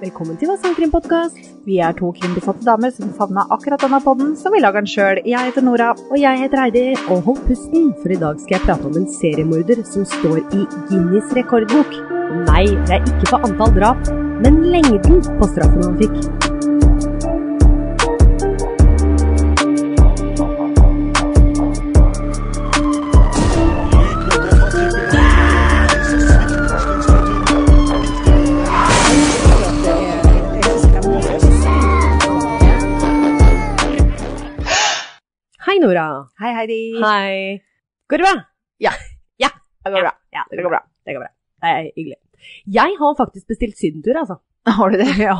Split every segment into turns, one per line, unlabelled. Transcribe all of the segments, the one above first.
Velkommen til Vassand krimpodkast. Vi er to krimbesatte damer som savna akkurat denne podden, så vi lager den sjøl. Jeg heter Nora.
Og jeg heter Heidi, og hold pusten, for i dag skal jeg prate om en seriemorder som står i Guinness rekordbok. Og Nei, det er ikke på antall drap, men lengden på straffen han fikk. Hei, Nora.
Hei, Heidi.
Hei. Går det bra?
Det går bra.
Ja,
Det går bra.
Det går bra. Det er hyggelig. Jeg har faktisk bestilt sydentur, altså.
Har du det?
Ja.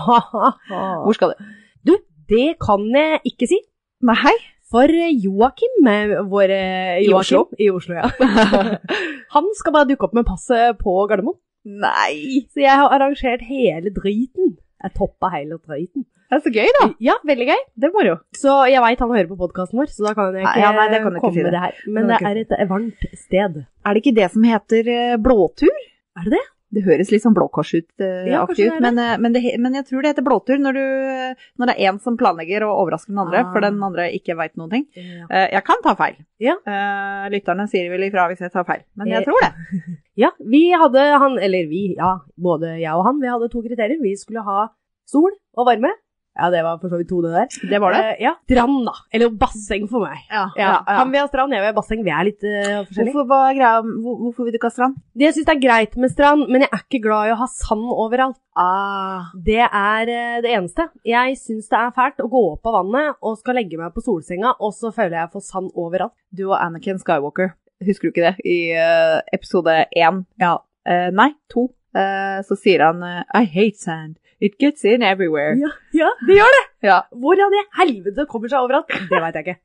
Hvor skal du?
Du, det kan jeg ikke si.
Nei, hei.
For Joakim, eh, vår eh,
I Oslo?
Joakim- I Oslo, ja. Han skal bare dukke opp med passet på Gardermoen.
Nei.
Så jeg har arrangert hele driten. Jeg toppa hele driten.
Det er så gøy, da.
Ja, veldig gøy.
Det er moro.
Så jeg veit han hører på podkasten vår, så da kan jeg ikke
Nei, ja, nei, det kan du ikke
komme
si det.
med det her. Men
Det
det
kan
er et varmt sted.
Er det ikke det som heter eh, blåtur?
Er det det?
Det høres litt sånn blåkorsaktig
Ja,
ut,
kanskje det er det.
men, eh, men, det, he- men jeg tror det heter blåtur når, du, eh, når det er én som planlegger og overrasker den andre,
Ah.
for den andre ikke veit noen ting.
Ja.
Eh, Jeg kan ta feil.
Ja.
Eh, Lytterne sier vel ifra hvis jeg tar feil, men jeg
Eh.
tror det.
vi hadde han, eller vi, ja, både jeg og han, vi hadde to kriterier. Vi skulle ha sol og varme. Ja, det var for så vidt to, det der.
Det var det.
Eh, ja. Strand, da. Eller basseng for meg.
Ja,
Ja. Han vil ha strand, jeg vil ha basseng. Vi er litt eh, forskjellige.
Hvorfor, var greia, hvor, hvorfor vil du ikke ha strand?
Det Jeg syns det er greit med strand, men jeg er ikke glad i å ha sand overalt.
Ah.
Det er eh, det eneste. Jeg syns det er fælt å gå opp av vannet og skal legge meg på solsenga, og så føler jeg jeg får sand overalt.
Du og Anakin Skywalker, husker du ikke det? I eh, episode én, ja, eh, nei, to, eh, så sier han eh, I hate sand. It gets in everywhere.
Ja, det gjør det!
Ja.
Hvor av det helvete kommer seg overalt? Det veit jeg ikke.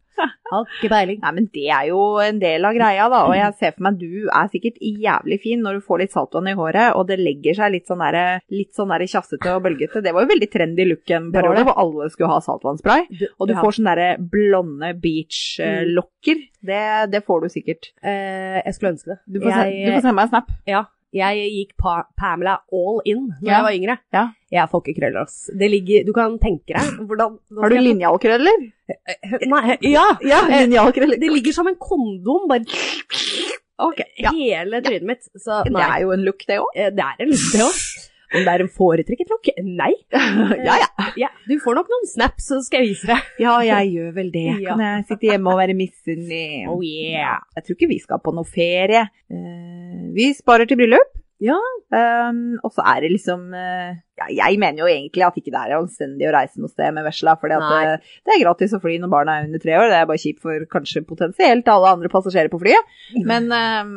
Har ikke peiling.
Nei, men det er jo en del av greia, da. Og jeg ser for meg du er sikkert jævlig fin når du får litt saltvann i håret, og det legger seg litt sånn derre litt sånn derre tjassete og bølgete. Det var jo veldig trendy look en
Det var
periode
det.
hvor alle skulle ha saltvannspray. Og du
Ja.
får sånne derre blonde Mm. beach-lokker. Det, det får du sikkert.
Eh, Jeg skulle ønske det.
Du får, se,
Jeg-
du får sende meg en snap.
Ja. Jeg gikk pa Pamela all in
Ja.
da jeg var yngre.
Ja.
Jeg får ikke krøller, ass. Det ligger Du kan tenke deg hvordan
Har du linjalkrøller?
Nei. Ja!
Ja,
eh,
linjalkrøller.
Det ligger som en kondom, bare
Ok, ja.
hele trynet mitt. Så
Det
nei.
er jo en look, det òg.
Eh, Det er en liste òg. Om det er en foretrukket lokk? Nei.
ja, ja.
Ja, du får nok noen snaps, så skal jeg vise deg.
Ja, jeg gjør vel det.
Ja.
Kan jeg sitte hjemme og være misunnelig?
Oh yeah.
Jeg tror ikke vi skal på noe ferie. Eh, vi sparer til bryllup.
Ja.
Um, og så er det liksom eh, ja, Jeg mener jo egentlig at ikke det er anstendig å reise noe sted med vesla, for
Nei.
det er gratis å fly når barna er under tre år. Det er bare kjipt for kanskje potensielt alle andre passasjerer på flyet.
Mm.
Men ehm,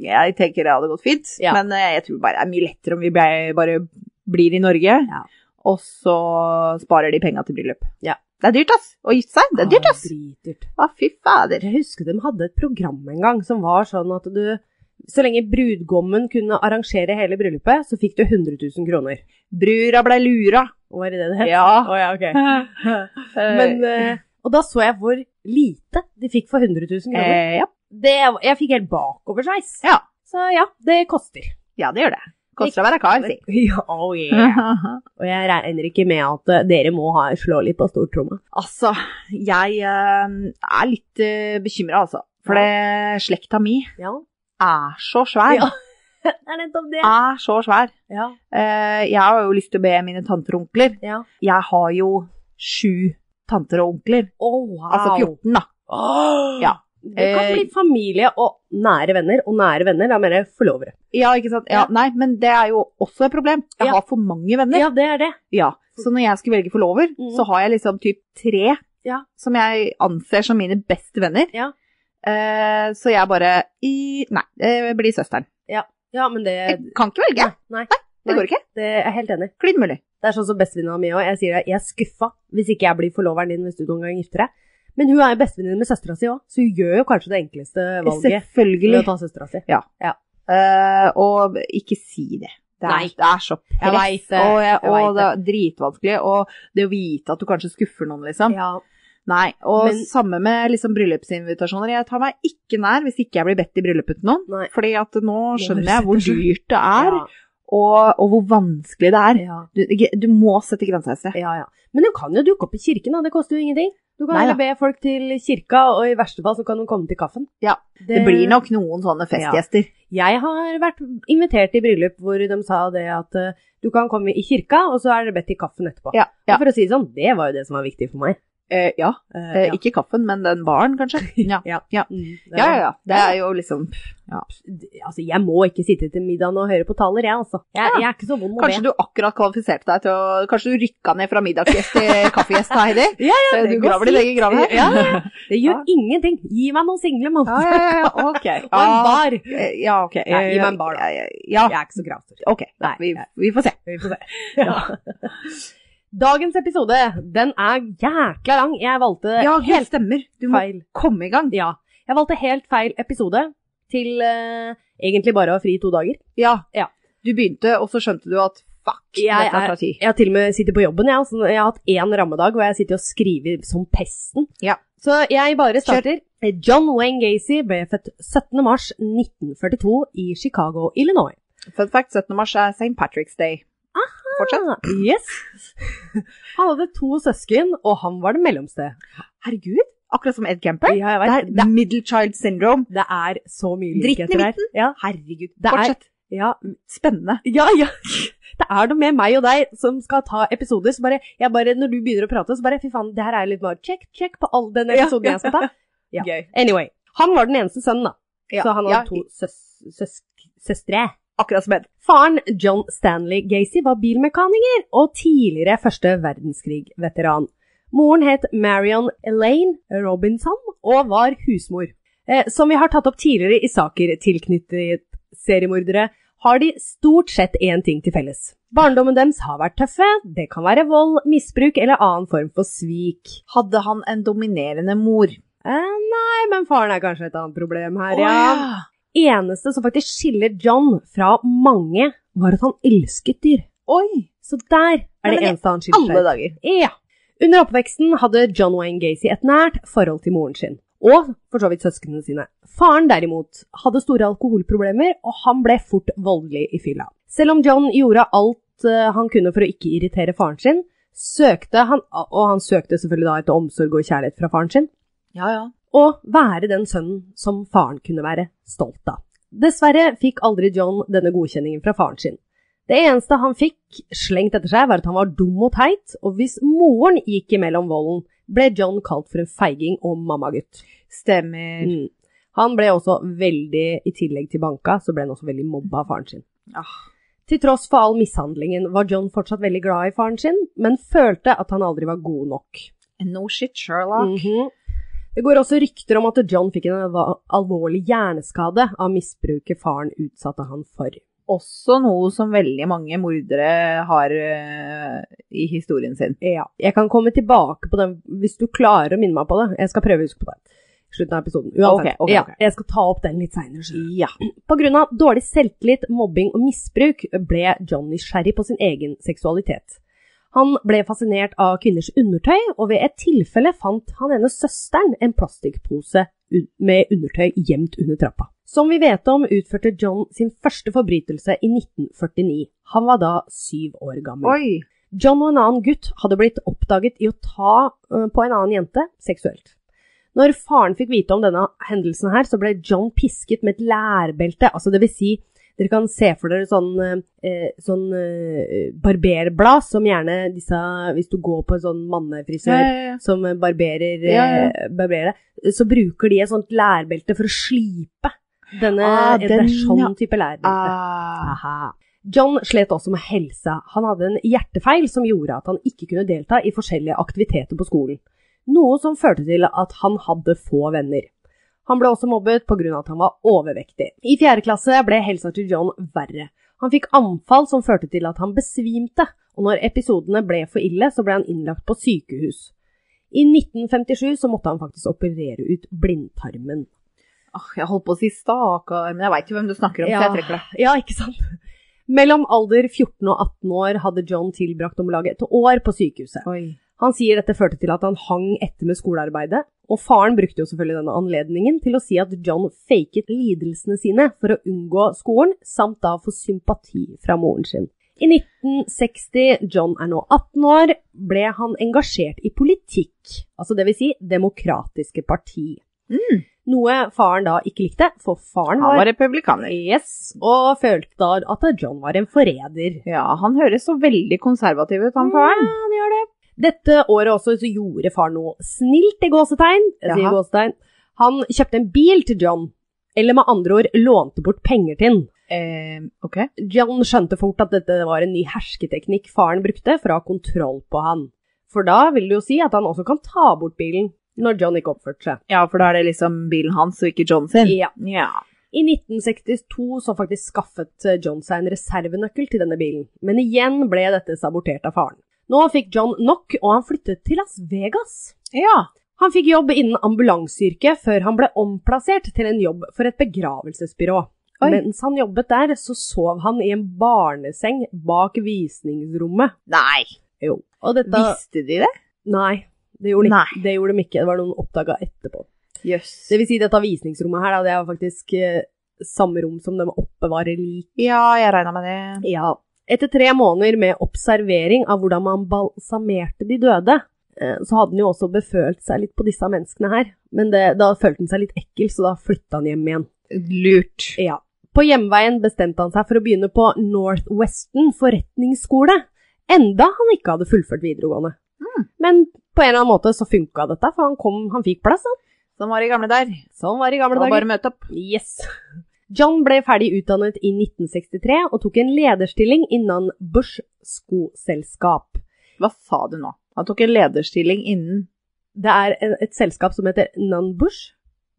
jeg tenker det hadde gått fint.
Ja.
Men eh, jeg tror bare det er mye lettere om vi ble, bare blir i Norge,
Ja.
og så sparer de penga til bryllup.
Ja.
Det er dyrt, ass. Å gifte seg, det er dyrt, ass.
Ah, dritdyrt.
Å, fy fader.
Jeg husker de hadde et program en gang som var sånn at du Så lenge brudgommen kunne arrangere hele bryllupet, så fikk du 100 000 kroner.
Brura blei lura.
Var det det det het?
Ja.
Å, ja, ok. Men,
Men
eh, og da så jeg hvor lite de fikk for 100 000 kroner.
eh, ja.
Det, jeg fikk helt bakoversveis.
Ja.
Så ja, det koster.
ja, det gjør det. Koster å være kar, si.
Ja, oh Og jeg regner ikke med at eh, dere må ha, slå litt på stortromma.
altså, jeg eh, er litt uh, bekymra, altså. For det, slekta mi
Ja,
er så svær.
Ja. det er nettopp det.
Er så svær.
Ja.
Eh, jeg har jo lyst til å be mine tanter og onkler.
ja.
Jeg har jo sju tanter og onkler.
Oh, wow.
Altså 14, da. Ja.
Det kan
Eh,
bli familie og nære venner, og nære venner, da mener jeg forlovere.
Ja, ikke sant?
Ja.
Ja, nei, men det er jo også et problem. Jeg
Ja.
har for mange venner.
Ja, det er det.
Ja, så når jeg skulle velge forlover,
Mm.
så har jeg liksom typ tre
Ja.
som jeg anser som mine beste venner.
Ja.
Eh, så jeg bare i, Nei, det blir søsteren.
Ja, men det,
Jeg kan ikke velge.
Eh, Nei.
Det går ikke.
det er jeg helt enig. i.
Klin mulig.
Det er sånn som bestevenninna mi òg. Jeg sier at jeg er skuffa hvis ikke jeg blir forloveren din hvis du noen gang gifter deg. Men hun er jo bestevenninne med søstera si òg, så hun gjør jo kanskje det enkleste valget. Ved
Selvfølgelig.
å ta søstera si.
Eh, og ikke si det. Det
Nei.
er, det er så press,
vet det.
og, jeg,
Jeg
og
vet
det er dritvanskelig. Og det å vite at du kanskje skuffer noen, liksom.
Ja.
Nei, og
Men-
samme med liksom bryllupsinvitasjoner. Jeg tar meg ikke nær hvis ikke jeg blir bedt i bryllupet til noen.
Nei.
Fordi at nå
Nå
skjønner jeg
har du
hvor
sett det selv.
dyrt det er.
ja.
og, og hvor vanskelig det er.
Ja,
Du, du må sette grenser.
ja, ja. Men du kan jo dukke opp i kirken, da. Det koster jo ingenting. Du kan
Nei,
heller be folk til kirka, og i verste fall så kan de komme til kaffen.
Ja, Det blir nok noen sånne festgjester.
Jeg har vært invitert i bryllup hvor de sa det at eh, du kan komme i kirka, og så er det bedt i kaffen etterpå.
Ja. ja.
Og for å si det sånn, det var jo det som var viktig for meg.
Eh, ja. Eh,
Eh, ja.
Ikke kaffen, men den baren, kanskje. Ja.
Ja.
Ja.
Mm, det
ja,
var-
ja, ja. Det er jo liksom
Altså, jeg må ikke sitte til middagen og høre på taler, jeg, altså. Jeg,
Ja.
jeg er ikke så vond å be.
Kanskje du akkurat kvalifiserte deg til å Kanskje du rykka ned fra middagsgjest til kaffegjest, Heidi?
Ja,
Eh,
det
du
går
graver din egen grav her?
Ja, ja. Det gjør
Ja.
ingenting. Gi meg noen single, mann.
Ja, ja, ja, ok.
Og en
Ja,
bar.
eh, Ja, ok.
Ja, gi meg en bar, da.
Ja, Ja,
Jeg er ikke så gravstor.
ok.
Nei,
Vi,
jeg-
vi får se.
vi får se. Ja. Dagens episode, den er jækla lang. Jeg valgte
Ja, det
helt
stemmer. Du må
feil.
komme i gang.
Ja. Jeg valgte helt feil episode til eh, egentlig bare å ha fri i to dager.
Ja.
Ja.
Du begynte, og så skjønte du at fuck,
Jeg
dette
er-
tar tid.
Jeg har til og med sittet på jobben, jeg. Altså, jeg har hatt én rammedag hvor jeg sitter og skriver som pesten.
Ja.
Så jeg bare starter. John Wayne Gacy ble født 17. mars 1942 i Chicago, Illinois.
Fun fact, 17. mars er St. Patrick's Day. Fortsett.
Ah, yes. Han hadde to søsken, og han var det mellomste.
Herregud, akkurat som Ed Kemper.
Ja, jeg
Det er
vet. Det,
middle child syndrome.
det er så mye
Dritten i
likheter der. Ja,
Herregud,
Det er-
fortsett.
ja,
Spennende.
ja, ja. Det er noe med meg og deg som skal ta episoder, så bare, jeg bare, når du begynner å prate, så bare, fy faen, det her er litt mer check, check på all den episoden jeg skal ta. Ja.
Gøy.
Anyway, han var den eneste sønnen, da.
Ja,
Så han hadde
ja,
to søs søsk søstre.
Akkurat som Ed.
Faren, John Stanley Gacy, var bilmekaniker og tidligere første verdenskrig-veteran. Moren het Marion Elaine Robinson og var husmor. Eh, som vi har tatt opp tidligere i saker tilknyttet seriemordere, har de stort sett én ting til felles. Barndommen deres har vært tøffe, det kan være vold, misbruk eller annen form for svik.
Hadde han en dominerende mor?
Eh, nei, men faren er kanskje et annet problem her,
Å,
ja. Eneste som faktisk skiller John fra mange, var at han elsket dyr.
Oi!
Så der er
Nei,
det
men i
eneste han
Alle
skiller seg.
dager.
Ja. Under oppveksten hadde John Wayne Gacy et nært forhold til moren sin, og for så vidt søsknene sine. Faren derimot hadde store alkoholproblemer, og han ble fort voldelig i fylla. Selv om John gjorde alt eh, han kunne for å ikke irritere faren sin, søkte han, og han søkte selvfølgelig da etter omsorg og kjærlighet fra faren sin,
Ja, ja.
og være den sønnen som faren kunne være stolt av. Dessverre fikk aldri John denne godkjenningen fra faren sin. Det eneste han fikk slengt etter seg, var at han var dum og teit, og hvis moren gikk imellom volden, ble John kalt for en feiging og mammagutt.
Stemmer.
Mm. Han ble også veldig, i tillegg til banka, så ble han også veldig mobba av faren sin.
Ah.
Til tross for all mishandlingen var John fortsatt veldig glad i faren sin, men følte at han aldri var god nok.
No shit, Sherlock.
Mhm. Det går også rykter om at John fikk en alva- alvorlig hjerneskade av misbruket faren utsatte han for.
Også noe som veldig mange mordere har eh, i historien sin.
Ja, jeg kan komme tilbake på den hvis du klarer å minne meg på det. Jeg skal prøve å huske på det. i Slutten av episoden. Uansett.
Ok, ok,
ja,
ok.
jeg skal ta opp den litt seinere.
Ja.
På grunn av dårlig selvtillit, mobbing og misbruk ble John nysgjerrig på sin egen seksualitet. Han ble fascinert av kvinners undertøy, og ved et tilfelle fant han hennes søsteren en plastikkpose un- med undertøy gjemt under trappa. Som vi vet om, utførte John sin første forbrytelse i 1949. Han var da syv år gammel.
Oi.
John og en annen gutt hadde blitt oppdaget i å ta eh, på en annen jente seksuelt. Når faren fikk vite om denne hendelsen her, så ble John pisket med et lærbelte, altså det vil si, dere kan se for dere sånn, eh, sånn eh, barberblad som gjerne disse, hvis du går på en sånn mannefrisør, som barberer, eh,
Ja, ja.
barberer deg, så bruker de et sånt lærbelte for å slipe denne,
Ah,
det
den,
er sånn
ja.
type lærbelte.
Ah.
Aha. John slet også med helsa. Han hadde en hjertefeil som gjorde at han ikke kunne delta i forskjellige aktiviteter på skolen, noe som førte til at han hadde få venner. Han ble også mobbet pga. at han var overvektig. I fjerde klasse ble helsa til John verre. Han fikk anfall som førte til at han besvimte, og når episodene ble for ille, så ble han innlagt på sykehus. I 1957 så måtte han faktisk operere ut blindtarmen.
Ah, Jeg holdt på å si stakkar, men jeg veit jo hvem du snakker om, så jeg trekker det.
Ja, ikke sant? Mellom alder 14 og 18 år hadde John tilbrakt om lag et år på sykehuset.
Oi.
Han sier dette førte til at han hang etter med skolearbeidet, Og faren brukte jo selvfølgelig denne anledningen til å si at John faket lidelsene sine for å unngå skolen, samt da få sympati fra moren sin. I 1960, John er nå 18 år, ble han engasjert i politikk, altså det vil si demokratiske parti.
Mm.
Noe faren da ikke likte, for faren
Han
var
var republikaner.
Yes, og følte da at John var en forræder.
Ja, han høres så veldig konservativ ut, han faren.
Ja, han gjør det. Dette året også så gjorde far noe snilt i gåsetegn. Jeg sier
Jaha.
gåsetegn. Han kjøpte en bil til John, eller med andre ord lånte bort penger til han.
Eh, ok.
John skjønte fort at dette var en ny hersketeknikk faren brukte for å ha kontroll på han. For da vil det jo si at han også kan ta bort bilen når John ikke oppførte seg.
Ja, for da er det liksom bilen hans og ikke John sin.
Ja.
Ja.
I 1962 så faktisk skaffet eh, John seg en reservenøkkel til denne bilen, men igjen ble dette sabotert av faren. Nå fikk John nok, og han flyttet til Las Vegas.
Ja.
Han fikk jobb innen ambulanseyrket før han ble omplassert til en jobb for et begravelsesbyrå.
Oi.
Mens han jobbet der, så sov han i en barneseng bak visningsrommet.
Nei.
Jo. Og dette
Visste de det?
Nei, det gjorde, de-
Nei.
det gjorde de ikke. Det var noen oppdaga etterpå.
Jøss.
Det vil si, dette visningsrommet her, da, det er faktisk eh, samme rom som de oppbevarer lik
Ja, jeg regna med det.
ja. Etter tre måneder med observering av hvordan man balsamerte de døde, eh, så hadde han jo også befølt seg litt på disse menneskene her. Men det, da følte han seg litt ekkel, så da flytta han hjem igjen.
Lurt.
Ja. På hjemveien bestemte han seg for å begynne på Northwestern forretningsskole, enda han ikke hadde fullført videregående. Men på en eller annen måte så funka dette, for han kom, han fikk plass, han.
Som var i gamle der.
Sånn var det i
Det
gamle
var
dager.
bare å møte opp.
Yes. John ble ferdig utdannet i 1963 og tok en lederstilling innan Bush skoselskap.
Hva sa du nå? Han tok en lederstilling innen
Det er en- et selskap som heter Nunbush.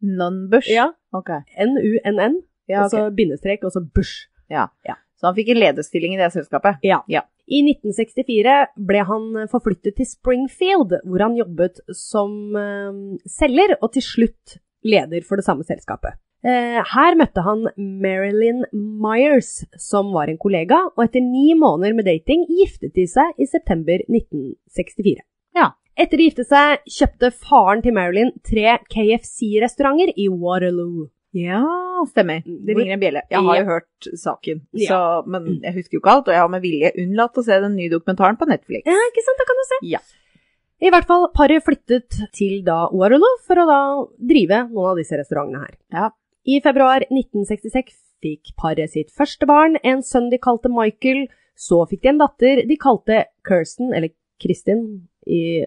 non-bush. Ok.
N-U-N-N,
Ja,
og så bindestrek, og så Bush.
Så han fikk en lederstilling i det selskapet.
I 1964 ble han forflyttet til Springfield, hvor han jobbet som eh, selger og til slutt leder for det samme selskapet. Eh, her møtte han Marilyn Myers, som var en kollega, og etter ni måneder med dating giftet de seg i september 1964.
Ja.
Etter de gifte seg, kjøpte faren til Marilyn tre KFC-restauranter i Waterloo.
Ja, stemmer. Det ringer en bjelle. Jeg har
Ja.
jo hørt saken,
Ja.
så, men jeg husker jo ikke alt. Og jeg har med vilje unnlatt å se den nye dokumentaren på Netflix.
Ja, ikke sant? Da kan du se.
Ja.
I hvert fall, paret flyttet til da Waterloo for å da drive noen av disse restaurantene her.
Ja.
I februar 1966 fikk paret sitt første barn, en sønn de kalte Michael. Så fikk de en datter de kalte Kirsten, eller Kristin, i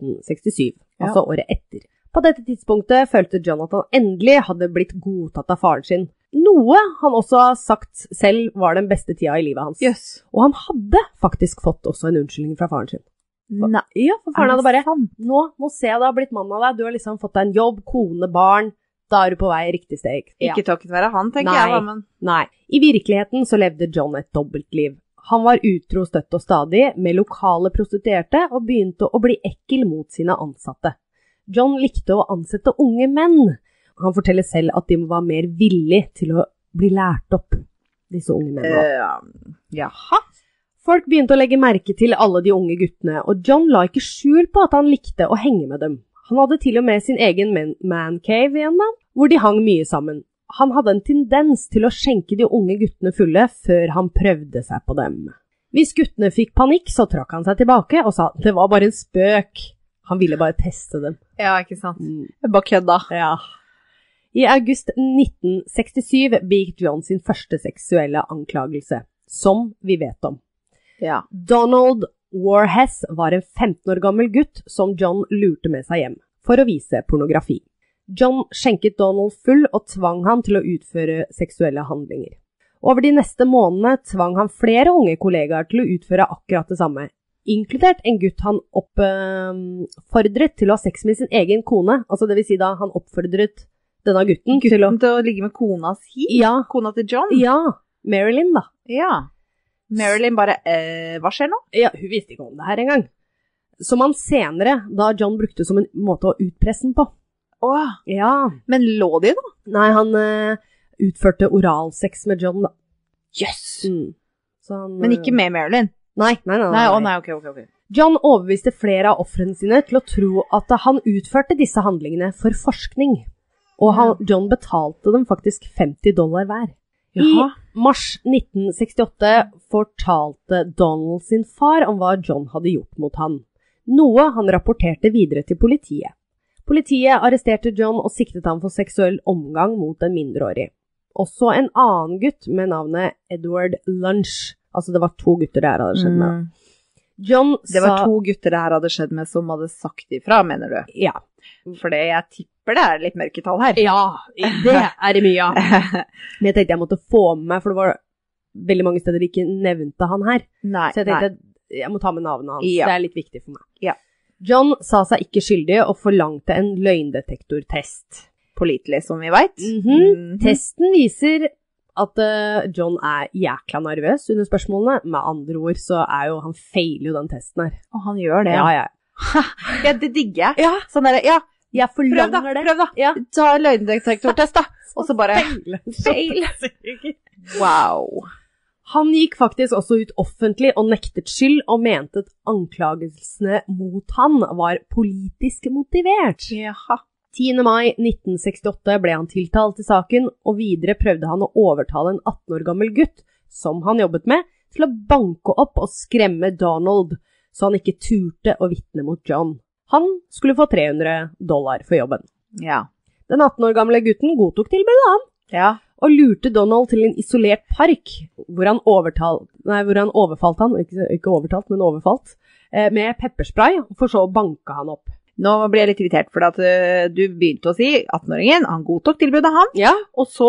1967,
Ja.
altså året etter. På dette tidspunktet følte John at han endelig hadde blitt godtatt av faren sin, noe han også har sagt selv var den beste tida i livet hans.
Jøss.
Og han hadde faktisk fått også en unnskyldning fra faren sin.
Nei.
Ja, for faren
er
hadde
det
bare
sant?
Nå, nå ser jeg du har blitt mann av deg, du har liksom fått deg en jobb, kone, barn. Da er du på vei riktig steg.
Ikke takket være han, tenker
Nei.
jeg, da, men
Nei. I virkeligheten så levde John et dobbeltliv. Han var utro støtt og stadig med lokale prostituerte og begynte å bli ekkel mot sine ansatte. John likte å ansette unge menn. Han forteller selv at de var mer villig til å bli lært opp, disse unge mennene.
Eh, Jaha.
Folk begynte å legge merke til alle de unge guttene, og John la ikke skjul på at han likte å henge med dem. Han hadde til og med sin egen man- mancave igjen, da, hvor de hang mye sammen. Han hadde en tendens til å skjenke de unge guttene fulle før han prøvde seg på dem. Hvis guttene fikk panikk, så trakk han seg tilbake og sa det var bare en spøk. Han ville bare teste dem. Mm,
Ja, ikke sant. Mm. Jeg bare kødda.
Ja. I august 1967 begikk John sin første seksuelle anklagelse, som vi vet om.
Ja.
Donald Warhess var en 15 år gammel gutt som John lurte med seg hjem for å vise pornografi. John skjenket Donald full og tvang ham til å utføre seksuelle handlinger. Over de neste månedene tvang han flere unge kollegaer til å utføre akkurat det samme, inkludert en gutt han mm, oppfordret til å ha sex med sin egen kone, altså det vil si da han oppfordret denne gutten, til å
Gutten til å ligge med kona si?
Ja,
Kona til John?
ja, Marilyn da.
Ja. Marilyn bare eh, Hva skjer nå?
Ja, hun visste ikke om det her engang. Som han senere, da John brukte som en måte å utpresse den på.
Åh.
Ja.
Men lå de, da?
Nei, han eh, utførte oralsex med John, da.
Jøss!
Mm. Så han,
Men ikke med Marilyn?
Nei, nei, nei. nei,
Nei, å nei, ok, ok. ok.
John overbeviste flere av ofrene sine til å tro at han utførte disse handlingene for forskning, og han, John betalte dem faktisk 50 dollar hver.
Jaha.
I mars 1968 fortalte Donald sin far om hva John hadde gjort mot han, noe han rapporterte videre til politiet. Politiet arresterte John og siktet ham for seksuell omgang mot en mindreårig. Også en annen gutt med navnet Edward Lunch. Altså, det var to gutter det her hadde skjedd med.
Mm.
John
Det var
sa
to gutter det her hadde skjedd med som hadde sagt ifra, mener du?
Ja.
For det- jeg tipper det er litt mørketall her.
Mm. Ja, det er det mye av. Men jeg tenkte jeg måtte få med meg, for det var veldig mange steder de ikke nevnte han her.
Nei,
Så jeg
nei.
tenkte jeg må ta med navnet hans.
Ja.
Det er litt viktig for meg.
Ja.
John sa seg ikke skyldig og forlangte en løgndetektortest.
Pålitelig, som vi Mm. veit.
Mhm. Testen viser at eh, John er jækla nervøs under spørsmålene. Med andre ord så er jo han feiler jo den testen her.
Og han gjør det,
Ja,
ja.
ja.
ja det digger jeg.
ja.
Sånn derre, ja,
Jeg
prøv da,
forlanger det.
prøv da.
Ja.
Ta en løgndetektortest, da. Og så bare Feil. Wow.
Han gikk faktisk også ut offentlig og nektet skyld, og mente at anklagelsene mot han var politisk motivert.
Jaha.
10. mai 1968 ble han tiltalt i saken, og videre prøvde han å overtale en 18 år gammel gutt, som han jobbet med, til å banke opp og skremme Donald, så han ikke turte å vitne mot John. Han skulle få 300 dollar for jobben.
Ja.
Den 18 år gamle gutten godtok tilbudet
Ja.
og lurte Donald til en isolert park, hvor han, overtal, nei, hvor han overfalt han, ikke, ikke overtalt, men overfalt, eh, med pepperspray, for så å banke han opp.
Nå blir jeg litt irritert, for at eh, du begynte å si 18-åringen, han godtok tilbudet, han.
Ja.
Og så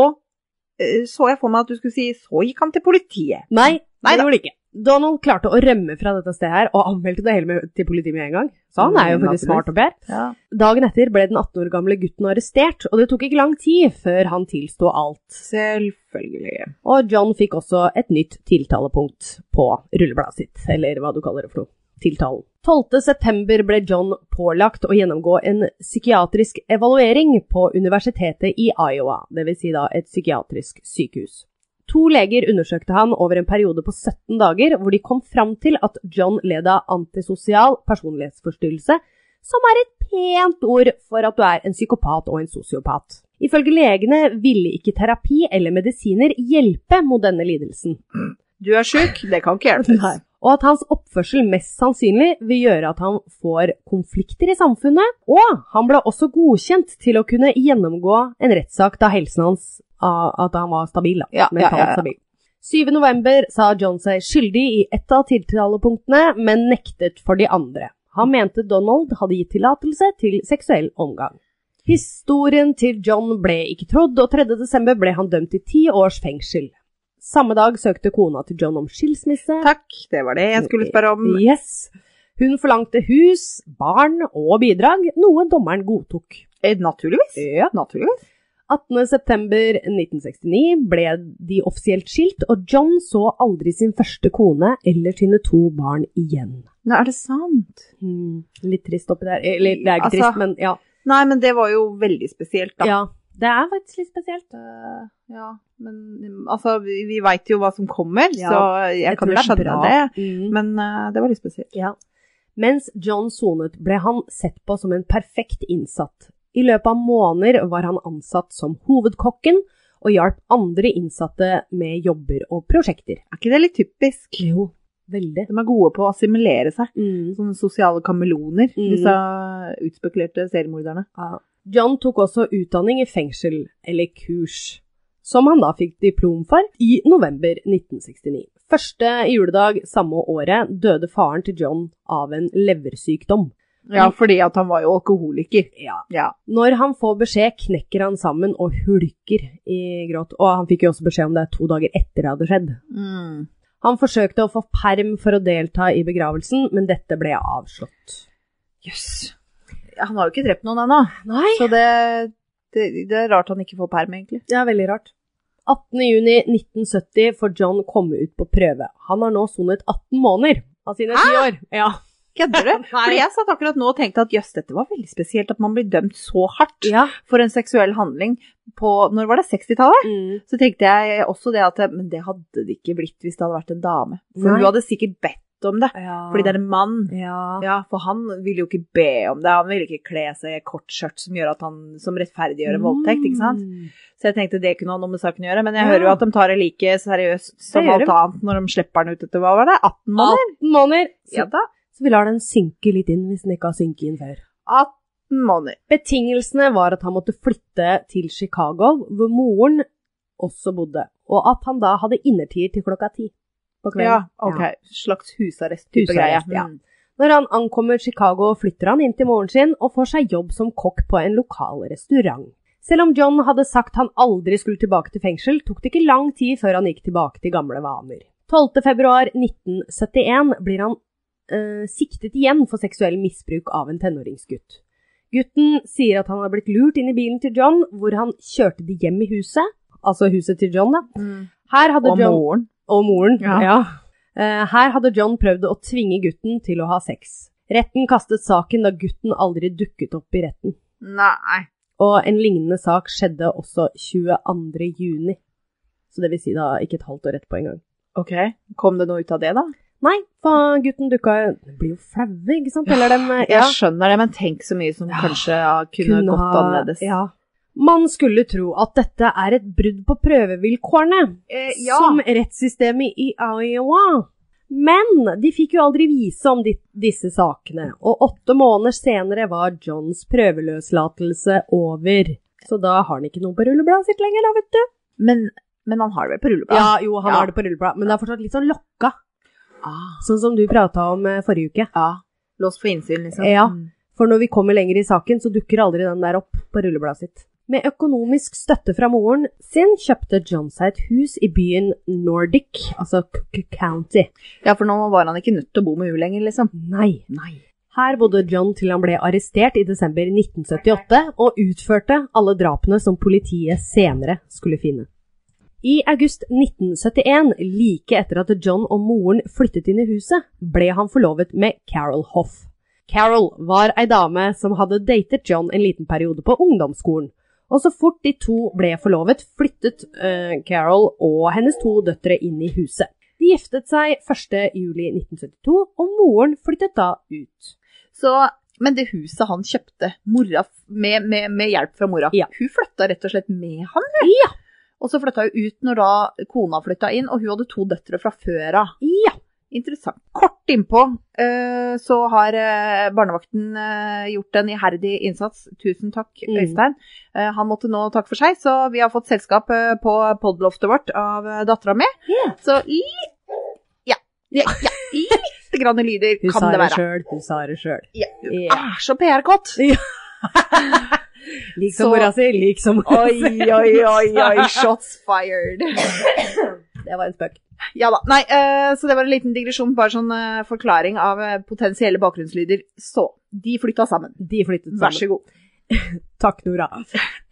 eh, så jeg for meg at du skulle si så gikk han til politiet.
Nei,
Nei
det
da.
gjorde det ikke. Donald klarte å rømme fra dette stedet her, og anmeldte det hele med, til politiet med en gang. Så han er jo
Mm,
faktisk
naturligvis.
smart og per. Dagen etter ble den 18 år gamle gutten arrestert, og det tok ikke lang tid før han tilsto alt.
Selvfølgelig.
Og John fikk også et nytt tiltalepunkt på rullebladet sitt, eller hva du kaller det for noe. Tiltalen. 12. september ble John pålagt å gjennomgå en psykiatrisk evaluering på universitetet i Iowa, dvs. Si da et psykiatrisk sykehus. To leger undersøkte han over en periode på 17 dager, hvor de kom fram til at John led av antisosial personlighetsforstyrrelse, som er et pent ord for at du er en psykopat og en sosiopat. Ifølge legene ville ikke terapi eller medisiner hjelpe mot denne lidelsen,
Du er sjuk, det kan ikke hjelpes.
Nei. og at hans oppførsel mest sannsynlig vil gjøre at han får konflikter i samfunnet, og han ble også godkjent til å kunne gjennomgå en rettssak da helsen hans av at han var stabil, da,
Ja, ja,
mentalt
ja, ja.
stabil. 7. november sa John seg skyldig i ett av tiltalepunktene, men nektet for de andre. Han mente Donald hadde gitt tillatelse til seksuell omgang. Historien til John ble ikke trodd, og 3. desember ble han dømt til ti års fengsel. Samme dag søkte kona til John om skilsmisse.
Takk, det var det jeg skulle spørre om.
Mm. Yes. Hun forlangte hus, barn og bidrag, noe dommeren godtok.
Eh, Naturligvis.
Ja.
Naturligvis.
18.9.1969 ble de offisielt skilt, og John så aldri sin første kone eller sine to barn igjen.
Nei, er det sant?
Hmm, litt trist oppi der. Eller det er ikke
Altså,
trist, men ja.
Nei, men det var jo veldig spesielt, da.
ja. Det er faktisk litt spesielt.
Eh, ja, men altså, vi, vi veit jo hva som kommer,
Ja,
så jeg, kan
tror
jo
det er
skjønne
bra.
det.
Mm.
Men eh, det var litt spesielt.
Ja. Mens John sonet, ble han sett på som en perfekt innsatt. I løpet av måneder var han ansatt som hovedkokken, og hjalp andre innsatte med jobber og prosjekter.
Er ikke det litt typisk?
Jo, veldig.
De er gode på å assimilere seg. Sånne sosiale kameleoner,
Mm.
disse utspekulerte seriemorderne.
Ja. John tok også utdanning i fengsel, eller kurs, som han da fikk diplom for i november 1969. Første juledag samme året døde faren til John av en leversykdom. Mm.
Ja, fordi at han var jo alkoholiker.
Ja,
Ja.
Når han får beskjed, knekker han sammen og hulker i gråt. Og han fikk jo også beskjed om det to dager etter det hadde skjedd. Han forsøkte å få perm for å delta i begravelsen, men dette ble avslått.
Jøss. Ja, Han har jo ikke drept noen ennå,
Nei!
så det, det, det er rart han ikke får perm, egentlig.
Det er veldig rart. 18.6.1970 får John komme ut på prøve. Han har nå sonet 18 måneder av sine ti år. Ja.
Kødder du?
Nei.
Fordi jeg satt akkurat nå og tenkte at jøss, dette var veldig spesielt at man blir dømt så hardt
ja.
for en seksuell handling på Når var det? 60-tallet?
Mm.
Så tenkte jeg også det at Men det hadde det ikke blitt hvis det hadde vært en dame. For
Nei.
hun hadde sikkert bedt bedt om det.
Ja.
Fordi det er en mann.
ja.
Ja, for han vil jo ikke be om det. Han vil ikke kle seg i kort skjørt som, gjør at han- som rettferdiggjør en voldtekt, ikke sant.
Mm.
Så jeg tenkte det kunne ha noe med saken å gjøre, men jeg
Ja.
hører jo at de tar det like seriøst som
Det gjør
alt annet når de slipper den ut etter hva var det, 18 måneder?
18 måneder. Så,
Ja da,
så vi lar den synke litt inn hvis den ikke har synket inn før.
18 måneder.
Betingelsene var at han måtte flytte til Chicago, hvor moren også bodde, og at han da hadde innertier til klokka ti på kvelden.
Ja, ok. Slags husarrest-type greie.
Husarrest, ja.
Mm.
Når han ankommer Chicago, flytter han inn til moren sin og får seg jobb som kokk på en lokal restaurant. Selv om John hadde sagt han aldri skulle tilbake til fengsel, tok det ikke lang tid før han gikk tilbake til gamle vaner. 12. februar 1971 blir han eh, siktet igjen for seksuell misbruk av en tenåringsgutt. Gutten sier at han har blitt lurt inn i bilen til John, hvor han kjørte de hjem i huset, altså huset til John, da. Her hadde
Og
John
moren.
og moren.
Ja.
Eh, her hadde John prøvd å tvinge gutten til å ha sex. Retten kastet saken da gutten aldri dukket opp i retten.
Nei.
Og en lignende sak skjedde også 22. juni. Så det vil si da ikke et halvt år etterpå engang.
Ok, kom det noe ut av det da?
Nei, for gutten dukka jo De blir jo flaue, ikke sant? Eller dem eh, ja,
Jeg skjønner det, men tenk så mye som
Ja.
kanskje ja, kunne, gått
ha-
annerledes.
Ja. Man skulle tro at dette er et brudd på prøvevilkårene,
Eh,
som rettssystemet i Iowa. Men de fikk jo aldri vise om de, disse sakene, og åtte måneder senere var Johns prøveløslatelse over. Så da har han ikke noe på rullebladet sitt lenger, da, vet du.
men, men han har det vel på rulleblad?
Ja, jo, han
Ja.
har det på rullebladet, men det er fortsatt litt sånn lokka,
Ah.
sånn som du prata om eh, forrige uke.
ja. Låst for innsyn, liksom.
Ja.
Mm.
For når vi kommer lenger i saken, så dukker aldri den der opp på rullebladet sitt. Med økonomisk støtte fra moren sin kjøpte John seg et hus i byen Nordic, altså Cook County.
ja, for nå var han ikke nødt til å bo med hun lenger, liksom.
Nei.
Nei.
Her bodde John til han ble arrestert i desember 1978, og utførte alle drapene som politiet senere skulle finne. I august 1971, like etter at John og moren flyttet inn i huset, ble han forlovet med Carol Hoff. Carol var ei dame som hadde datet John en liten periode på ungdomsskolen. Og så fort de to ble forlovet, flyttet eh, Carol og hennes to døtre inn i huset. De giftet seg 1. juli 1972, og moren flyttet da ut.
Så, men det huset han kjøpte, mora, f- med, med, med hjelp fra mora,
Ja.
hun flytta rett og slett med han, vel?
Ja.
Og så flytta hun ut når da kona flytta inn, og hun hadde to døtre fra før av.
Ja.
Interessant. Kort innpå eh, så har eh, barnevakten eh, gjort en iherdig innsats. Tusen takk,
Mm.
Øystein. Eh, Han måtte nå takke for seg, så vi har fått selskap eh, på podloftet vårt av eh, dattera mi.
Ja.
Så litt Ja. ja, ja Lite grann lyder
Hun
kan
sa
det
det
være.
sjøl, hun sa det sjøl.
Ja.
Ja.
Er så PR-kåt!
Lik som
Så-
mora si, lik som mora
Oi,
si.
oi, oi, oi, shots fired.
Det var en spøk.
Ja da. Nei, eh, så det var en liten digresjon, bare sånn eh, forklaring av eh, potensielle bakgrunnslyder. Så, de flytta sammen.
De flyttet sammen.
Vær så god.
Takk, Nora.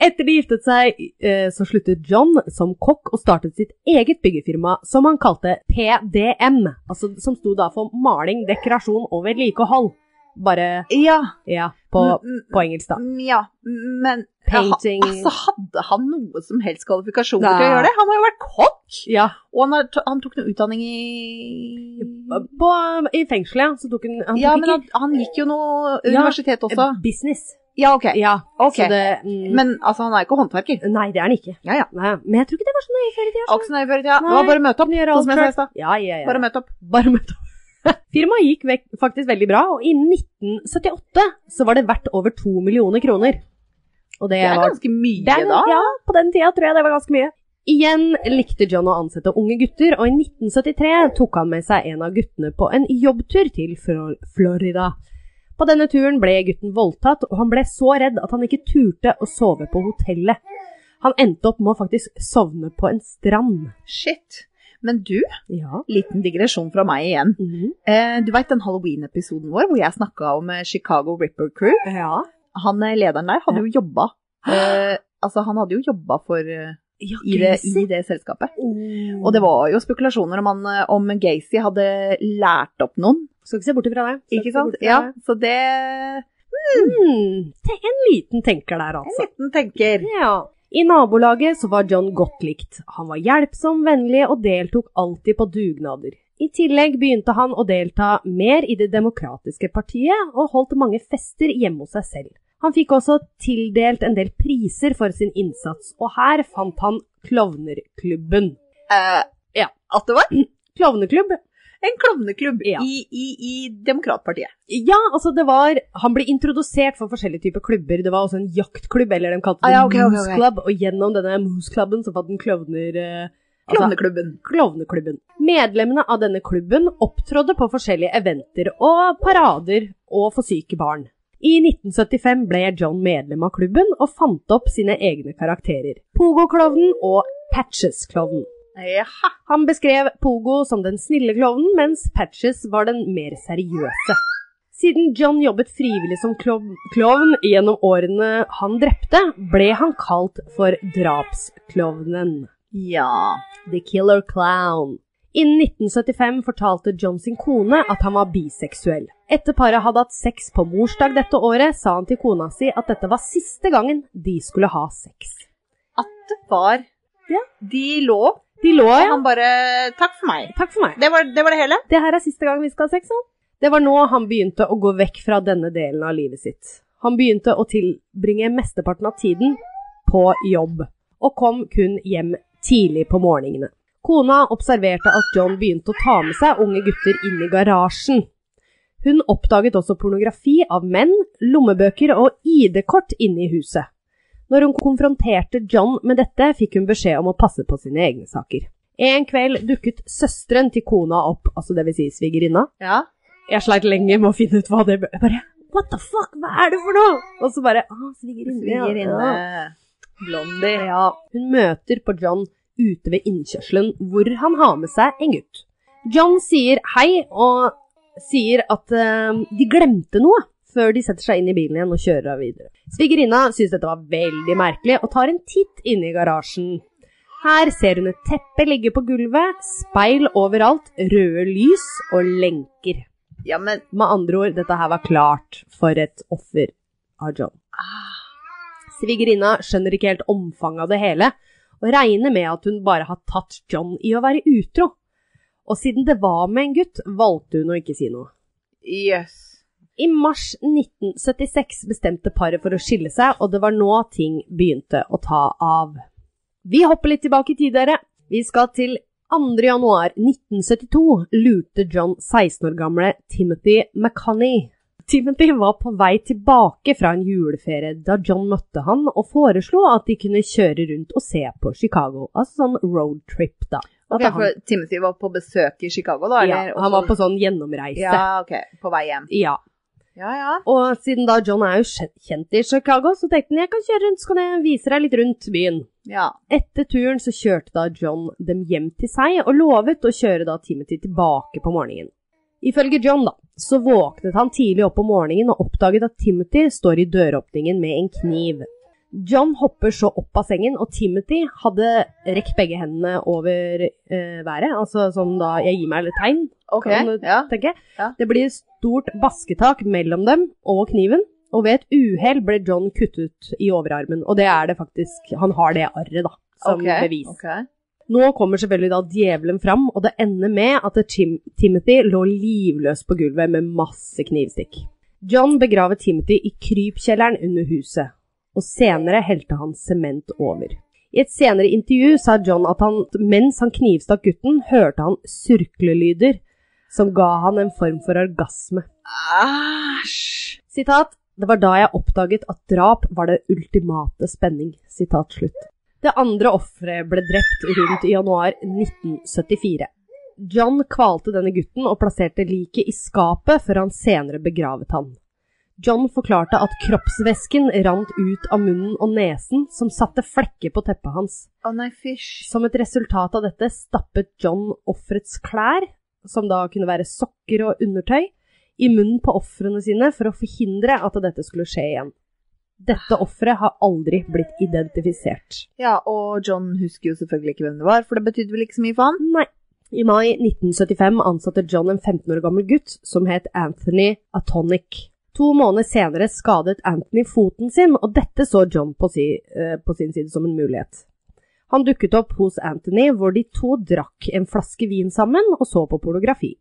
Etter de giftet seg, eh, så sluttet John som kokk og startet sitt eget byggefirma, som han kalte PDM, altså, som sto da for maling, dekorasjon og vedlikehold. Bare
Ja.
ja, på,
mm,
på engelsk, da.
mm, ja. Men
Painting.
Ja, ha- altså, hadde han noe som helst kvalifikasjoner
Nei.
til å gjøre det? Han har jo vært kokk!
Ja,
Og han, har, han tok noe utdanning i
på, I fengselet så tok han, han
Ja,
tok
men han, han gikk jo noe
Ja.
universitet også.
eh, business.
Ja, ok.
Ja,
Ok.
så det mm,
Men altså, han er ikke håndverker.
Nei, det er han ikke.
Ja, ja.
Nei, men jeg tror ikke det var sånn jeg før i tida.
Aksen er i førertida. Det
Nei,
var bare å møte opp,
kunne
sånn
gjøre alt
som jeg sa i
selv.
stad.
Ja, ja, ja.
Bare møte opp.
Bare møtt opp. Firmaet gikk vekk, faktisk veldig bra, og innen 1978 så var det verdt over to millioner kroner. Og det,
Det er
var
ganske mye,
det er-
da.
Ja, på den tida tror jeg det var ganske mye. Igjen likte John å ansette unge gutter, og i 1973 tok han med seg en av guttene på en jobbtur til Fro- Florida. På denne turen ble gutten voldtatt, og han ble så redd at han ikke turte å sove på hotellet. Han endte opp med å faktisk sovne på en strand.
Shit. Men du,
Ja.
liten digresjon fra meg igjen.
Mhm.
Eh, du veit den halloween-episoden vår hvor jeg snakka om eh, Chicago Ripper Crew?
ja.
Han eh, lederen der hadde jo jobba eh, Altså, han hadde jo jobba for eh,
ja
i, det, i det selskapet. Og det var jo spekulasjoner om, han, eh, om Gacy hadde lært opp noen,
Skal ikke se bort ifra det. Skal
ikke
se
sant?
bort ifra
Ja,
det.
så det
Hmm, te- en liten tenker der,
En
altså.
liten tenker.
Ja. I nabolaget så var John godt likt. Han var hjelpsom, vennlig og deltok alltid på dugnader. I tillegg begynte han å delta mer i Det demokratiske partiet, og holdt mange fester hjemme hos seg selv. Han fikk også tildelt en del priser for sin innsats, og her fant han Klovnerklubben.
Eh,
Ja.
At det var
Klovneklubb?
en klovneklubb
Ja.
i, i, i Demokratpartiet.
Ja, altså det var Han ble introdusert for forskjellige typer klubber. Det var også en jaktklubb, eller de kalte
Ah,
det
ja, ok, ok, ok.
Moose Club, og gjennom denne Moose Clubben så fant den klovner... eh, altså,
Klovneklubben.
Klovneklubben. Medlemmene av denne klubben opptrådde på forskjellige eventer og parader og for syke barn. I 1975 ble John medlem av klubben og fant opp sine egne karakterer. Pogo-klovnen og Patches-klovnen.
Jaha.
Han beskrev Pogo som den snille klovnen, mens Patches var den mer seriøse. Siden John jobbet frivillig som klov klovn gjennom årene han drepte, ble han kalt for drapsklovnen.
Ja.
The Killer Clown. Innen 1975 fortalte John sin kone at han var biseksuell. Etter paret hadde hatt sex på morsdag dette året, sa han til kona si at dette var siste gangen de skulle ha sex.
At det var
Ja.
De lå.
De lå,
Og
ja.
han bare Takk for meg.
Takk for meg.
Det var det, var det hele?
Det her er siste gang vi skal ha sex, sånn. Det var nå han begynte å gå vekk fra denne delen av livet sitt. Han begynte å tilbringe mesteparten av tiden på jobb, og kom kun hjem tidlig på morgenene. Kona observerte at John begynte å ta med seg unge gutter inn i garasjen. Hun oppdaget også pornografi av menn, lommebøker og ID-kort inne i huset. Når hun konfronterte John med dette, fikk hun beskjed om å passe på sine egne saker. En kveld dukket søsteren til kona opp, altså det vil si svigerinna.
Ja.
Jeg sleit lenge med å finne ut hva det Jeg bare What the fuck, hva er det for noe?! Og så bare ah, svigerinne. ja,
Svigerinne.
ja.
Blondie.
Ja, hun møter på John ute ved innkjørselen, hvor han har med seg en gutt. John sier hei, og sier at eh, de glemte noe før de setter seg inn i bilen igjen og kjører av videre. Svigerinna syns dette var veldig merkelig, og tar en titt inne i garasjen. Her ser hun et teppe ligge på gulvet, speil overalt, røde lys og lenker.
Ja, men
Med andre ord, dette her var klart for et offer av John. Svigerinna skjønner ikke helt omfanget av det hele, og regner med at hun bare har tatt John i å være utro. Og siden det var med en gutt, valgte hun å ikke si noe.
jøss.
I mars 1976 bestemte paret for å skille seg, og det var nå ting begynte å ta av. Vi hopper litt tilbake i tid, dere. Vi skal til 2. januar 1972 lurte John 16 år gamle Timothy McConney. Timothy var på vei tilbake fra en juleferie da John møtte han og foreslo at de kunne kjøre rundt og se på Chicago, altså sånn roadtrip, da.
Ok,
At han,
for Timothy var på besøk i Chicago, da?
ja,
Eller?
han var på sånn gjennomreise.
Ja, ok. På vei hjem.
ja.
Ja, ja.
Og siden da John er jo kjen- kjent i Chicago, så tenkte han jeg kan kjøre rundt, så kan jeg vise deg litt rundt byen.
Ja.
Etter turen så kjørte da John dem hjem til seg, og lovet å kjøre da Timothy tilbake på morgenen. Ifølge John da, så våknet han tidlig opp om morgenen og oppdaget at Timothy står i døråpningen med en kniv. John hopper så opp av sengen, og Timothy hadde rekt begge hendene over eh, været, altså som da jeg gir meg litt tegn,
Ok.
kan du
Ja.
tenker jeg.
Ja.
Det blir stort basketak mellom dem og kniven, og ved et uhell ble John kuttet i overarmen, og det er det faktisk, han har det arret da, som
Ok,
bevis.
ok.
Nå kommer selvfølgelig da djevelen fram, og det ender med at Tim Timothy lå livløs på gulvet med masse knivstikk. John begravet Timothy i krypkjelleren under huset, og senere helte han sement over. I et senere intervju sa John at han, mens han knivstakk gutten, hørte han surklelyder som ga han en form for orgasme.
Æsj.
Sitat, det var da jeg oppdaget at drap var det ultimate spenning. Sitat slutt. Det andre offeret ble drept rundt i januar 1974. John kvalte denne gutten og plasserte liket i skapet før han senere begravet han. John forklarte at kroppsvæsken rant ut av munnen og nesen, som satte flekker på teppet hans.
Å nei, fysj.
Som et resultat av dette stappet John offerets klær, som da kunne være sokker og undertøy, i munnen på ofrene sine for å forhindre at dette skulle skje igjen. Dette offeret har aldri blitt identifisert.
Ja, og John husker jo selvfølgelig ikke hvem det var, for det betydde vel ikke så mye for han?
Nei. I mai 1975 ansatte John en 15 år gammel gutt som het Anthony Atonic. To måneder senere skadet Anthony foten sin, og dette så John på, si, eh, på sin side som en mulighet. Han dukket opp hos Anthony, hvor de to drakk en flaske vin sammen og så på pornografi.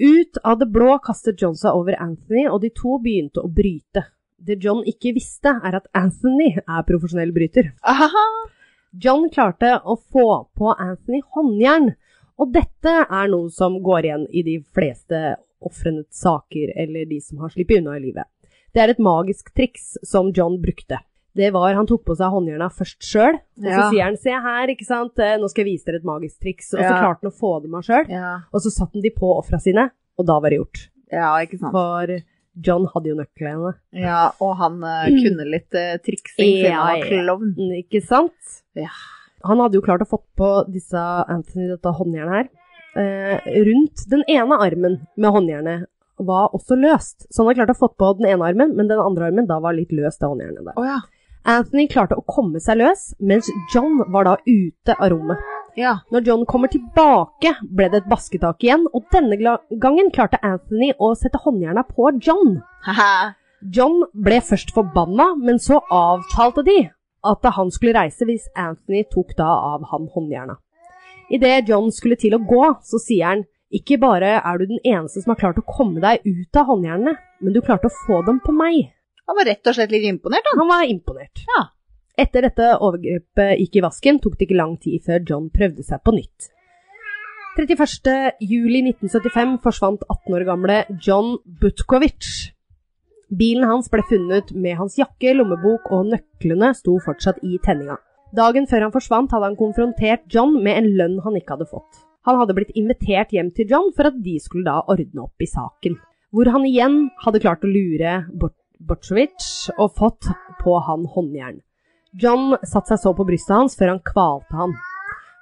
Ut av det blå kastet John seg over Anthony, og de to begynte å bryte. Det John ikke visste, er at Anthony er profesjonell bryter.
Aha.
John klarte å få på Anthony håndjern, og dette er noe som går igjen i de fleste ofrenes saker, eller de som har sluppet unna i livet. Det er et magisk triks som John brukte. Det var Han tok på seg håndjerna først sjøl, og så
Ja.
sier han 'se her, ikke sant, eh, nå skal jeg vise dere et magisk triks', og så
Ja.
klarte han å få dem av sjøl,
Ja.
og så satte han de på ofra sine, og da var det gjort.
ja, ikke sant.
For John hadde jo nøklene,
Ja, og han eh, kunne litt eh, triksing siden
Mm. Ja,
han
ja.
var klovn.
ikke sant?
Ja.
Han hadde jo klart å fått på disse Anthony, dette håndjernet her. Eh, rundt den ene armen med håndjernet var også løst, så han hadde klart å fått på den ene armen, men den andre armen da var litt løst, det håndjernet der.
Å ja.
Anthony klarte å komme seg løs, mens John var da ute av rommet.
Ja.
Når John kommer tilbake, ble det et basketak igjen, og denne gla- gangen klarte Anthony å sette håndjerna på John.
Haha.
John ble først forbanna, men så avtalte de at han skulle reise hvis Anthony tok da av ham håndjerna. Idet John skulle til å gå, så sier han ikke bare er du den eneste som har klart å komme deg ut av håndjernene, men du klarte å få dem på meg.
Han var rett og slett litt imponert, han.
Han var imponert.
Ja.
Etter dette overgrepet gikk i vasken, tok det ikke lang tid før John prøvde seg på nytt. 31. juli 1975 forsvant 18 år gamle John Butkovich. Bilen hans ble funnet med hans jakke, lommebok og nøklene sto fortsatt i tenninga. Dagen før han forsvant, hadde han konfrontert John med en lønn han ikke hadde fått. Han hadde blitt invitert hjem til John for at de skulle da ordne opp i saken, hvor han igjen hadde klart å lure Bort Borchowicz og fått på han håndjern. John satte seg så på brystet hans før han kvalte han.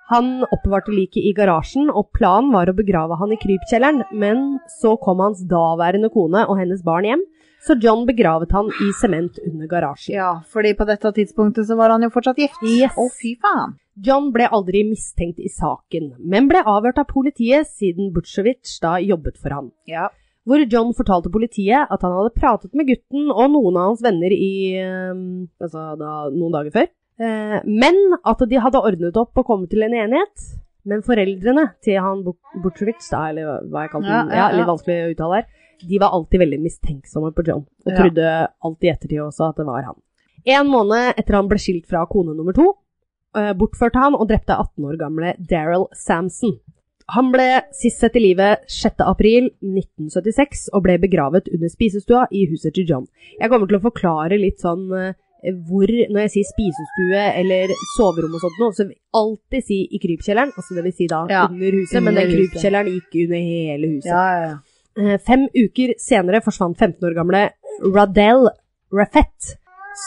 Han oppbevarte liket i garasjen, og planen var å begrave han i krypkjelleren, men så kom hans daværende kone og hennes barn hjem, så John begravet han i sement under garasjen.
Ja, fordi på dette tidspunktet så var han jo fortsatt gift.
Yes.
Å, fy faen.
John ble aldri mistenkt i saken, men ble avhørt av politiet siden Butchowicz da jobbet for han.
Ja.
Hvor John fortalte politiet at han hadde pratet med gutten og noen av hans venner i eh, altså da, noen dager før, eh, men at de hadde ordnet opp og kommet til en enighet. Men foreldrene til han Butchowicz, da, eller hva jeg kalte
Ja, ja,
den, ja,
ja.
litt vanskelig å uttale her, de var alltid veldig mistenksomme på John, og
Ja.
trodde alltid i ettertid også at det var han. En måned etter han ble skilt fra kone nummer to, eh, bortførte han og drepte 18 år gamle Daryl Samson. Han ble sist sett i livet 6. april 1976 og ble begravet under spisestua i huset til John. Jeg kommer til å forklare litt sånn eh, hvor, når jeg sier spisestue eller soverom og sånt noe, så vil jeg alltid si i krypkjelleren, altså det vil si da
Ja,
under huset, men
under
den
huset.
krypkjelleren gikk under hele huset.
Ja, ja, ja.
Eh, Fem uker senere forsvant 15 år gamle Radel Raffett,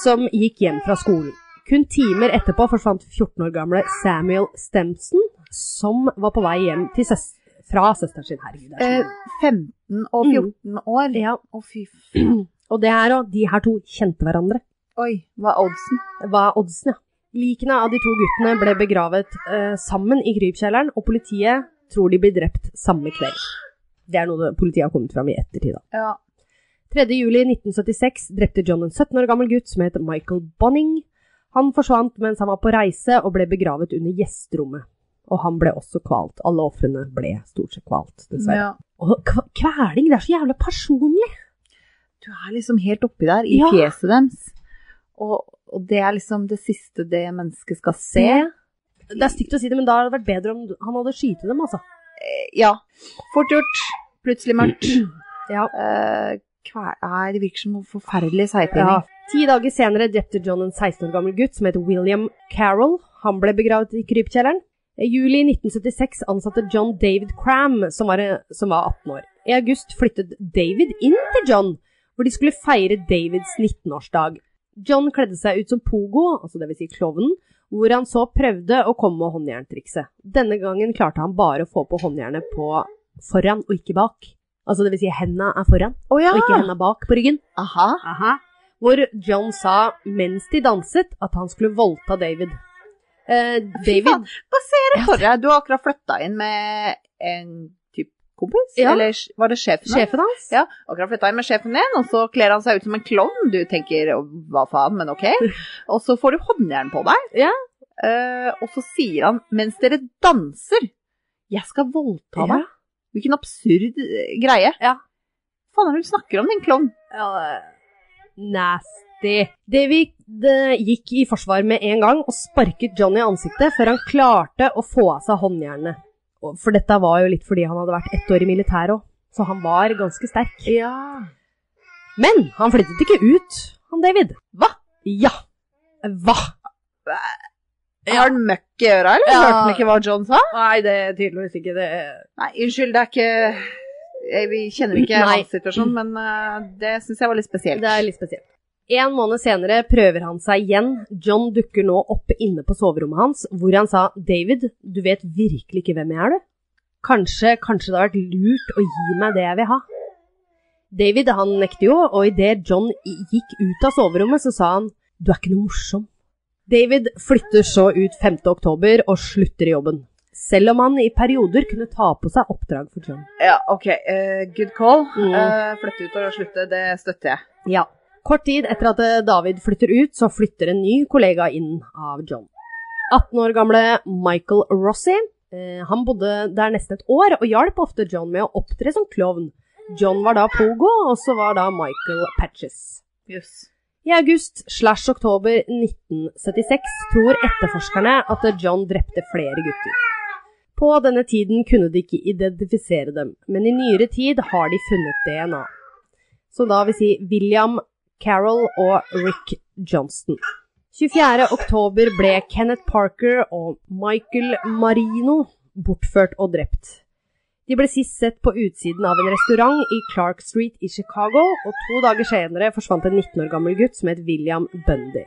som gikk hjem fra skolen. Kun timer etterpå forsvant 14 år gamle Samuel Stemson, som var på vei hjem til søs fra søsteren sin. Herregud. det
Eh,
er så-
15 og 14 år.
Mm. Ja,
Å, fy faen.
og det er òg De her to kjente hverandre.
Oi, hva er oddsen?
Hva er oddsen, ja? Likene av de to guttene ble begravet eh, sammen i krypkjelleren, og politiet tror de blir drept samme kveld. Det er noe det- politiet har kommet fram i ettertid, da.
Ja.
3. juli 1976 drepte John en 17 år gammel gutt som het Michael Bonning. Han forsvant mens han var på reise og ble begravet under gjesterommet. Og han ble også kvalt. Alle ofrene ble stort sett kvalt, dessverre.
ja.
Og kva- kveling, det er så jævla personlig!
Du er liksom helt oppi der, i
Ja.
fjeset deres. Og, og det er liksom det siste det mennesket skal se.
Det er stygt å si det, men da hadde det vært bedre om han hadde skytet dem, altså.
Eh, Ja. Fort gjort. Plutselig mørkt.
Ja.
Eh, hva- Nei, det virker som noe forferdelig seigpenning.
Ja. Ti dager senere drepte John en 16 år gammel gutt som het William Carroll. Han ble begravet i krypkjelleren. I juli 1976 ansatte John David Cram, som var, som var 18 år. I august flyttet David inn til John, hvor de skulle feire Davids 19-årsdag. John kledde seg ut som Pogo, altså det vil si klovnen, hvor han så prøvde å komme med håndjerntrikset. Denne gangen klarte han bare å få på håndjernet på foran og ikke bak. Altså det vil si henda er foran,
Å ja!
og ikke henda bak på ryggen.
Aha.
Hvor John sa mens de danset at han skulle voldta David. Eh, David
faen. Hva ser du for deg? Du har akkurat flytta inn med en type kompis?
Ja.
Eller sj- var det sjefen? din?
Sjefen hans?
Ja, akkurat flytta inn med sjefen din, og så kler han seg ut som en klovn. Du tenker 'hva faen', men ok. Og så får du håndjern på deg.
Ja.
eh, og så sier han mens dere danser, jeg skal voldta deg. Hvilken absurd eh, greie.
Ja.
Hva faen er det du snakker om, din klovn?
Ja, Nasty. Davy det gikk i forsvar med en gang og sparket John i ansiktet før han klarte å få av seg håndjernene. Og- For dette var jo litt fordi han hadde vært ett år i militæret òg, så han var ganske sterk.
Ja.
Men han flyttet ikke ut, han David.
Hva?
Ja. Hva?
Har han møkk i øra, eller?
Ja.
Hørte han ikke hva John sa?
Nei, det er tydeligvis ikke det.
Nei, unnskyld, det er ikke jeg, Vi kjenner ikke
Nei.
hans situasjon, men eh, det syns jeg var litt spesielt.
Det er litt spesielt. En måned senere prøver han seg igjen. John dukker nå oppe inne på soverommet hans, hvor han sa David, du vet virkelig ikke hvem jeg er, du. Kanskje, kanskje det har vært lurt å gi meg det jeg vil ha. David han nekter jo, og idet John i- gikk ut av soverommet, så sa han du er ikke noe morsom. David flytter så ut 5. oktober og slutter i jobben. Selv om han i perioder kunne ta på seg oppdrag for John.
Ja, OK. eh, good call.
Mm.
Eh, flytte ut og slutte, det støtter jeg.
Ja. Kort tid etter at eh, David flytter ut, så flytter en ny kollega inn av John. 18 år gamle Michael Rossi. Eh, han bodde der nesten et år og hjalp ofte John med å opptre som klovn. John var da Pogo, og så var da Michael Patches.
Jøss.
I august slash oktober 1976 tror etterforskerne at John drepte flere gutter. På denne tiden kunne de ikke identifisere dem, men i nyere tid har de funnet DNA. Som da vil si William Carroll og Rick Johnston. 24. oktober ble Kenneth Parker og Michael Marino bortført og drept. De ble sist sett på utsiden av en restaurant i Clark Street i Chicago, og to dager senere forsvant en 19 år gammel gutt som het William Bundy.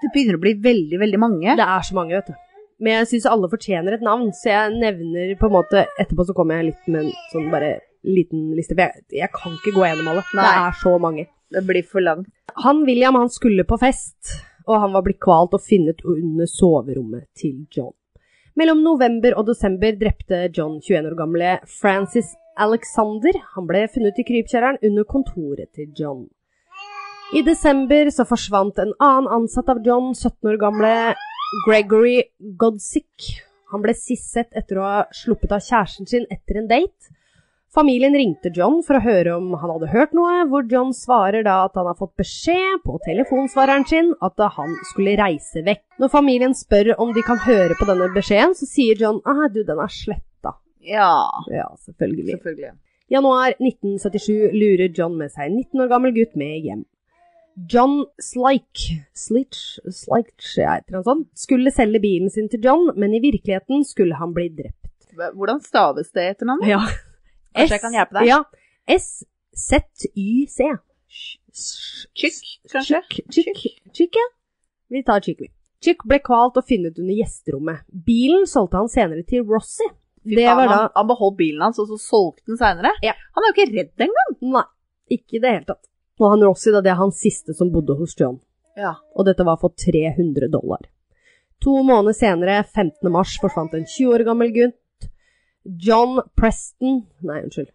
Det begynner å bli veldig, veldig mange.
Det er så mange, vet du. Men jeg syns alle fortjener et navn, så jeg nevner på en måte Etterpå så kommer jeg litt med en sånn bare liten liste, for jeg, jeg kan ikke gå gjennom alle. Det
Nei.
er så mange.
Det blir for langt.
Han William han skulle på fest, og han var blitt kvalt og funnet under soverommet til John. Mellom november og desember drepte John 21 år gamle Francis Alexander. Han ble funnet i krypkjelleren under kontoret til John. I desember så forsvant en annen ansatt av John, 17 år gamle Gregory Godsick. Han ble sist sett etter å ha sluppet av kjæresten sin etter en date. Familien ringte John for å høre om han hadde hørt noe, hvor John svarer da at han har fått beskjed på telefonsvareren sin at da han skulle reise vekk. Når familien spør om de kan høre på denne beskjeden, så sier John «Ah, du, den er sletta.
Ja,
Ja, selvfølgelig.
selvfølgelig.
Januar 1977 lurer John med seg en 19 år gammel gutt med hjem. John Slike, Slitch, Slitch, et eller annet sånt, sånn, skulle selge bilen sin til John, men i virkeligheten skulle han bli drept.
Hva- Hvordan staves det etter navnet?
Ja.
Kanskje jeg kan hjelpe deg?
Ja. S-Z-Y-C.
Tjukk, kanskje?
Tjukk, tjukk, ja. Vi tar tjukk, vi. Tjukk ble kvalt og funnet under gjesterommet. Bilen solgte han senere til Rossi. Det
Faen,
var da
han, han beholdt bilen hans, og så solgte den seinere?
Ja.
Han er jo ikke redd engang!
Nei, ikke i det hele tatt. Og han Rossi, da, det er han siste som bodde hos John.
Ja.
og dette var for 300 dollar. To måneder senere, 15. mars, forsvant en 20 år gammel gutt. John Preston, nei, unnskyld,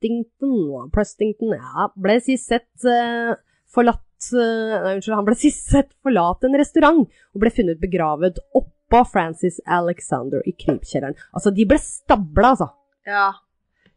Prestington, Prestington, ja, ble sist sett eh, forlatt, eh, nei, unnskyld, han ble sist sett forlatt en restaurant, og ble funnet begravet oppå Francis Alexander i krypkjelleren. Altså, de ble stabla, altså.
ja.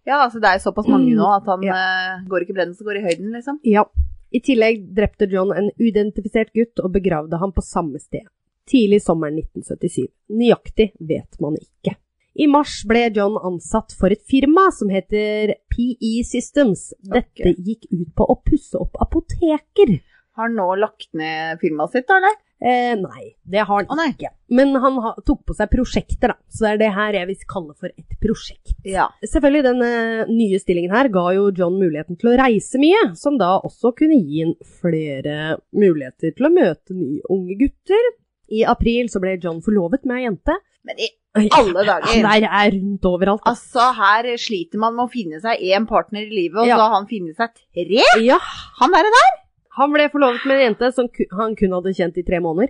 Ja, altså det er jo såpass mange
Mm.
nå at han
Ja.
eh, går ikke i bredden, så går i høyden, liksom.
Ja. I tillegg drepte John en uidentifisert gutt og begravde ham på samme sted. Tidlig sommeren 1977. Nøyaktig vet man ikke. I mars ble John ansatt for et firma som heter PE Systems. Dette gikk ut på å pusse opp apoteker.
Har han nå lagt ned firmaet sitt, da, eller?
Eh, nei, det har han
Å, nei.
ikke. Men han ha, tok på seg prosjekter, da. Så det er det her jeg vil kalle for et prosjekt.
Ja.
Selvfølgelig, den eh, nye stillingen her ga jo John muligheten til å reise mye, som da også kunne gi ham flere muligheter til å møte nye unge gutter. I april så ble John forlovet med ei jente.
Men i alle dager!
Han der er rundt overalt.
Altså, her sliter man med å finne seg én partner i livet, og
Ja.
så har han funnet seg tre?
Ja,
Han derre der?
han ble forlovet med ei jente som ku- han kun hadde kjent i tre måneder.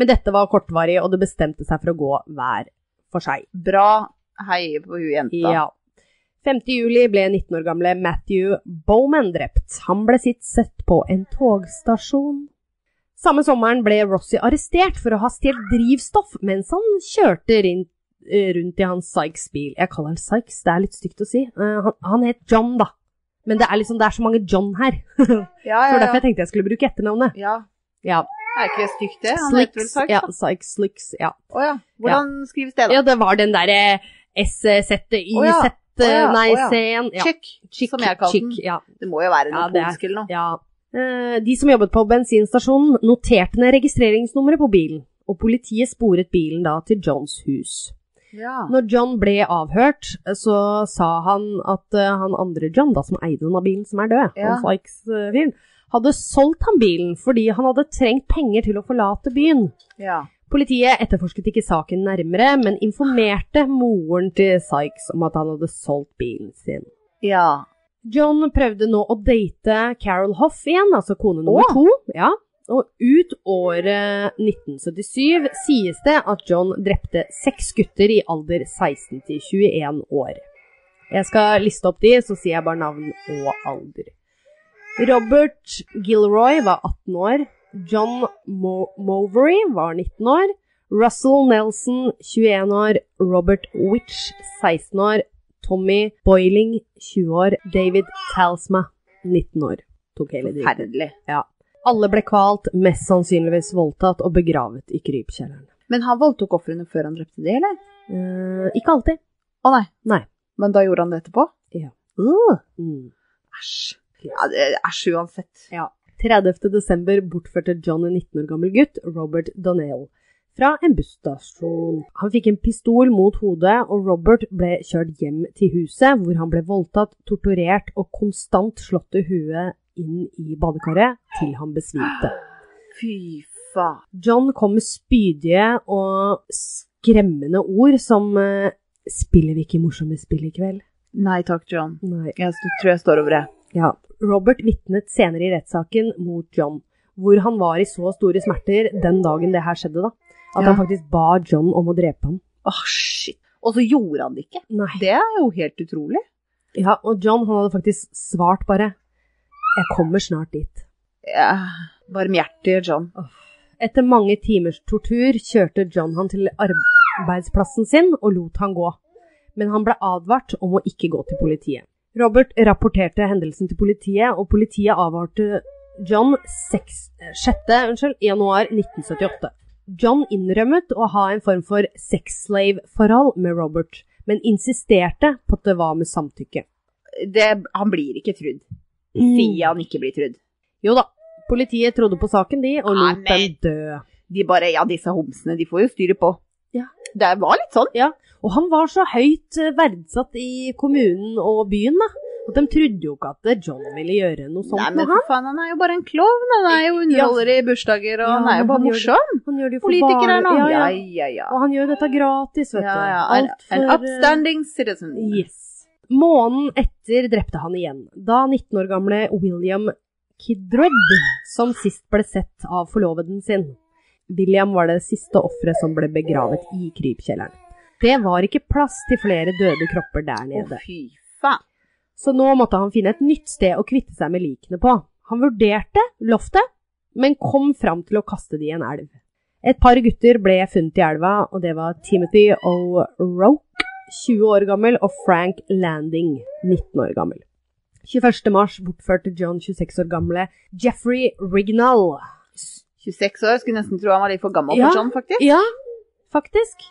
Men dette var kortvarig, og det bestemte seg for å gå hver for seg.
Bra heie på hun jenta.
Ja. 5. juli ble 19 år gamle Matthew Bowman drept. Han ble sitt sett på en togstasjon. Samme sommeren ble Rossi arrestert for å ha stjålet drivstoff mens han kjørte rin- eh, rundt i hans Sykes bil. Jeg kaller han Sykes, det er litt stygt å si. Eh, Han, han het John, da. Men det er, liksom, det er så mange John her. Det
Ja,
var
ja,
derfor
ja.
jeg tenkte jeg skulle bruke etternavnet.
ja.
Ja,
Er ikke det stygt, det? Han heter vel
Slicks.
Sark?
Ja,
da?
Sykes, Slicks, ja.
Å ja. Hvordan skrives det, da?
Ja, det var den derre S-settet,
Å ja,
Y-settet,
å ja,
nei,
å ja.
C-en. Ja.
Chick, som jeg kaller den.
chick, ja.
Det må jo være noe
Ja, det er-
polsk eller noe.
Ja. Eh, De som jobbet på bensinstasjonen, noterte ned registreringsnummeret på bilen, og politiet sporet bilen da til Johns hus.
Ja.
Når John ble avhørt, eh, så sa han at eh, han andre John, da, som eide denne bilen, som er død,
Ja.
han Sykes-fyren, hadde solgt han bilen fordi han hadde trengt penger til å forlate byen.
ja.
Politiet etterforsket ikke saken nærmere, men informerte moren til Sykes om at han hadde solgt bilen sin.
ja.
John prøvde nå å date Carol Hoff igjen, altså kone nummer
Åh.
to. Ja. Og ut året 1977 sies det at John drepte seks gutter i alder 16 til 21 år. Jeg skal liste opp de, så sier jeg bare navn og alder. Robert Gilroy var 18 år. John Mo Movery var 19 år. Russell Nelson 21 år. Robert Witch 16 år. Tommy Boiling 20 år. David Talsma 19 år. Tok hele dritten.
Forferdelig.
Alle ble kvalt, mest sannsynligvis voldtatt og begravet i krypkjelleren.
Men han voldtok ofrene før han drepte de, eller?
Eh, ikke alltid.
Å nei.
Nei.
Men da gjorde han det etterpå?
Ja.
Øh,
Mm.
Æsj. Ja, det- Æsj uansett.
30. desember bortførte John en 19 år gammel gutt, Robert Donnell, fra en busstasjon. Han fikk en pistol mot hodet, og Robert ble kjørt hjem til huset, hvor han ble voldtatt, torturert og konstant slått i huet inn i badekaret til han besvimte.
Fy faen.
John kom med spydige og skremmende ord som eh, Spiller vi ikke morsomme spill i kveld?
Nei takk, John.
Nei.
Jeg st- tror jeg står over det.
Ja. Robert vitnet senere i rettssaken mot John, hvor han var i så store smerter den dagen det her skjedde, da, at
Ja.
han faktisk ba John om å drepe ham.
Åh, shit. Og så gjorde han det ikke.
Nei.
Det er jo helt utrolig.
Ja, og John han hadde faktisk svart bare Jeg kommer snart dit.
Ja. Barmhjertige John.
Etter mange timers tortur kjørte John han til arbeidsplassen sin og lot han gå. Men han ble advart om å ikke gå til politiet. Robert rapporterte hendelsen til politiet, og politiet avvarte John 6. 6. Unnskyld, januar 1978. John innrømmet å ha en form for sexslave-forhold med Robert, men insisterte på at det var med samtykke.
Det, han blir ikke trudd. Sier han ikke blir trudd.
Jo da, politiet trodde på saken de, og lot
Nei,
dem dø.
De bare Ja, disse homsene, de får jo styre på.
Ja.
Det var litt sånn.
Og han var så høyt eh, verdsatt i kommunen og byen, da. At de trodde jo ikke at eh, John ville gjøre noe sånt
Nei, men
med Sånn han.
for faen, han er jo bare en klovn. Han er jo underholder i bursdager, og
Ja,
han er jo
men
bare
han gjør det
morsom.
Han gjør det jo for
Politiker er
barne-
han.
Ja,
Ja,
ja.
ja, ja.
Og han gjør dette gratis, vet
ja,
du.
ja. En,
Alt
en
eh,
upstanding citizen.
Yes. Måneden etter drepte han igjen, da 19 år gamle William Kidred, som sist ble sett av forloveden sin. William var det siste offeret som ble begravet i krypkjelleren. Det var ikke plass til flere døde kropper der
Å,
nede.
fy faen.
Så nå måtte han finne et nytt sted å kvitte seg med likene på. Han vurderte loftet, men kom fram til å kaste det i en elv. Et par gutter ble funnet i elva, og det var Timothy O'Roke, 20 år gammel, og Frank Landing, 19 år gammel. 21. mars bortførte John 26 år gamle Jeffrey Rignall.
26 år, skulle nesten tro han var litt for gammel
Ja.
for sånn, faktisk.
Ja, faktisk.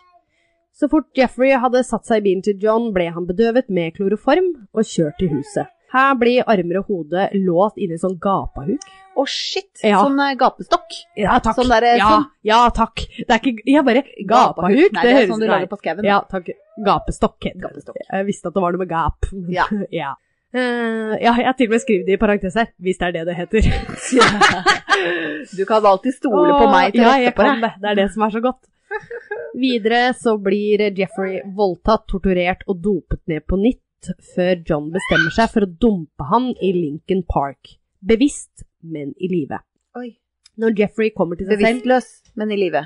Så fort Jeffrey hadde satt seg i bilen til John, ble han bedøvet med kloroform og kjørt til huset. Her blir armer og hode låst inni sånn gapahuk.
Å, shit!
Ja.
Sånn eh, gapestokk.
Ja, takk.
Sånn derre-
ja,
sånn.
ja, takk. Det er ikke Ja, bare gapahuk.
Nei, det er sånn du
nei.
lager på skauen.
Ja, takk. Gapestokk. heter det.
Gapestokk.
Jeg visste at det var noe med gap.
Ja.
ja. Eh, ja, jeg har til og med skrevet det i parentes her, hvis det er det det heter.
Du kan alltid stole på
Åh,
meg til
ja,
rette
jeg
på
kan
det.
det. Det er det som er så godt. Videre så blir Jeffrey voldtatt, torturert og dopet ned på nytt, før John bestemmer seg for å dumpe han i Lincoln Park. Bevisst, men i live.
Oi.
Når Jeffrey kommer til seg selv
Bevisstløs, men i live.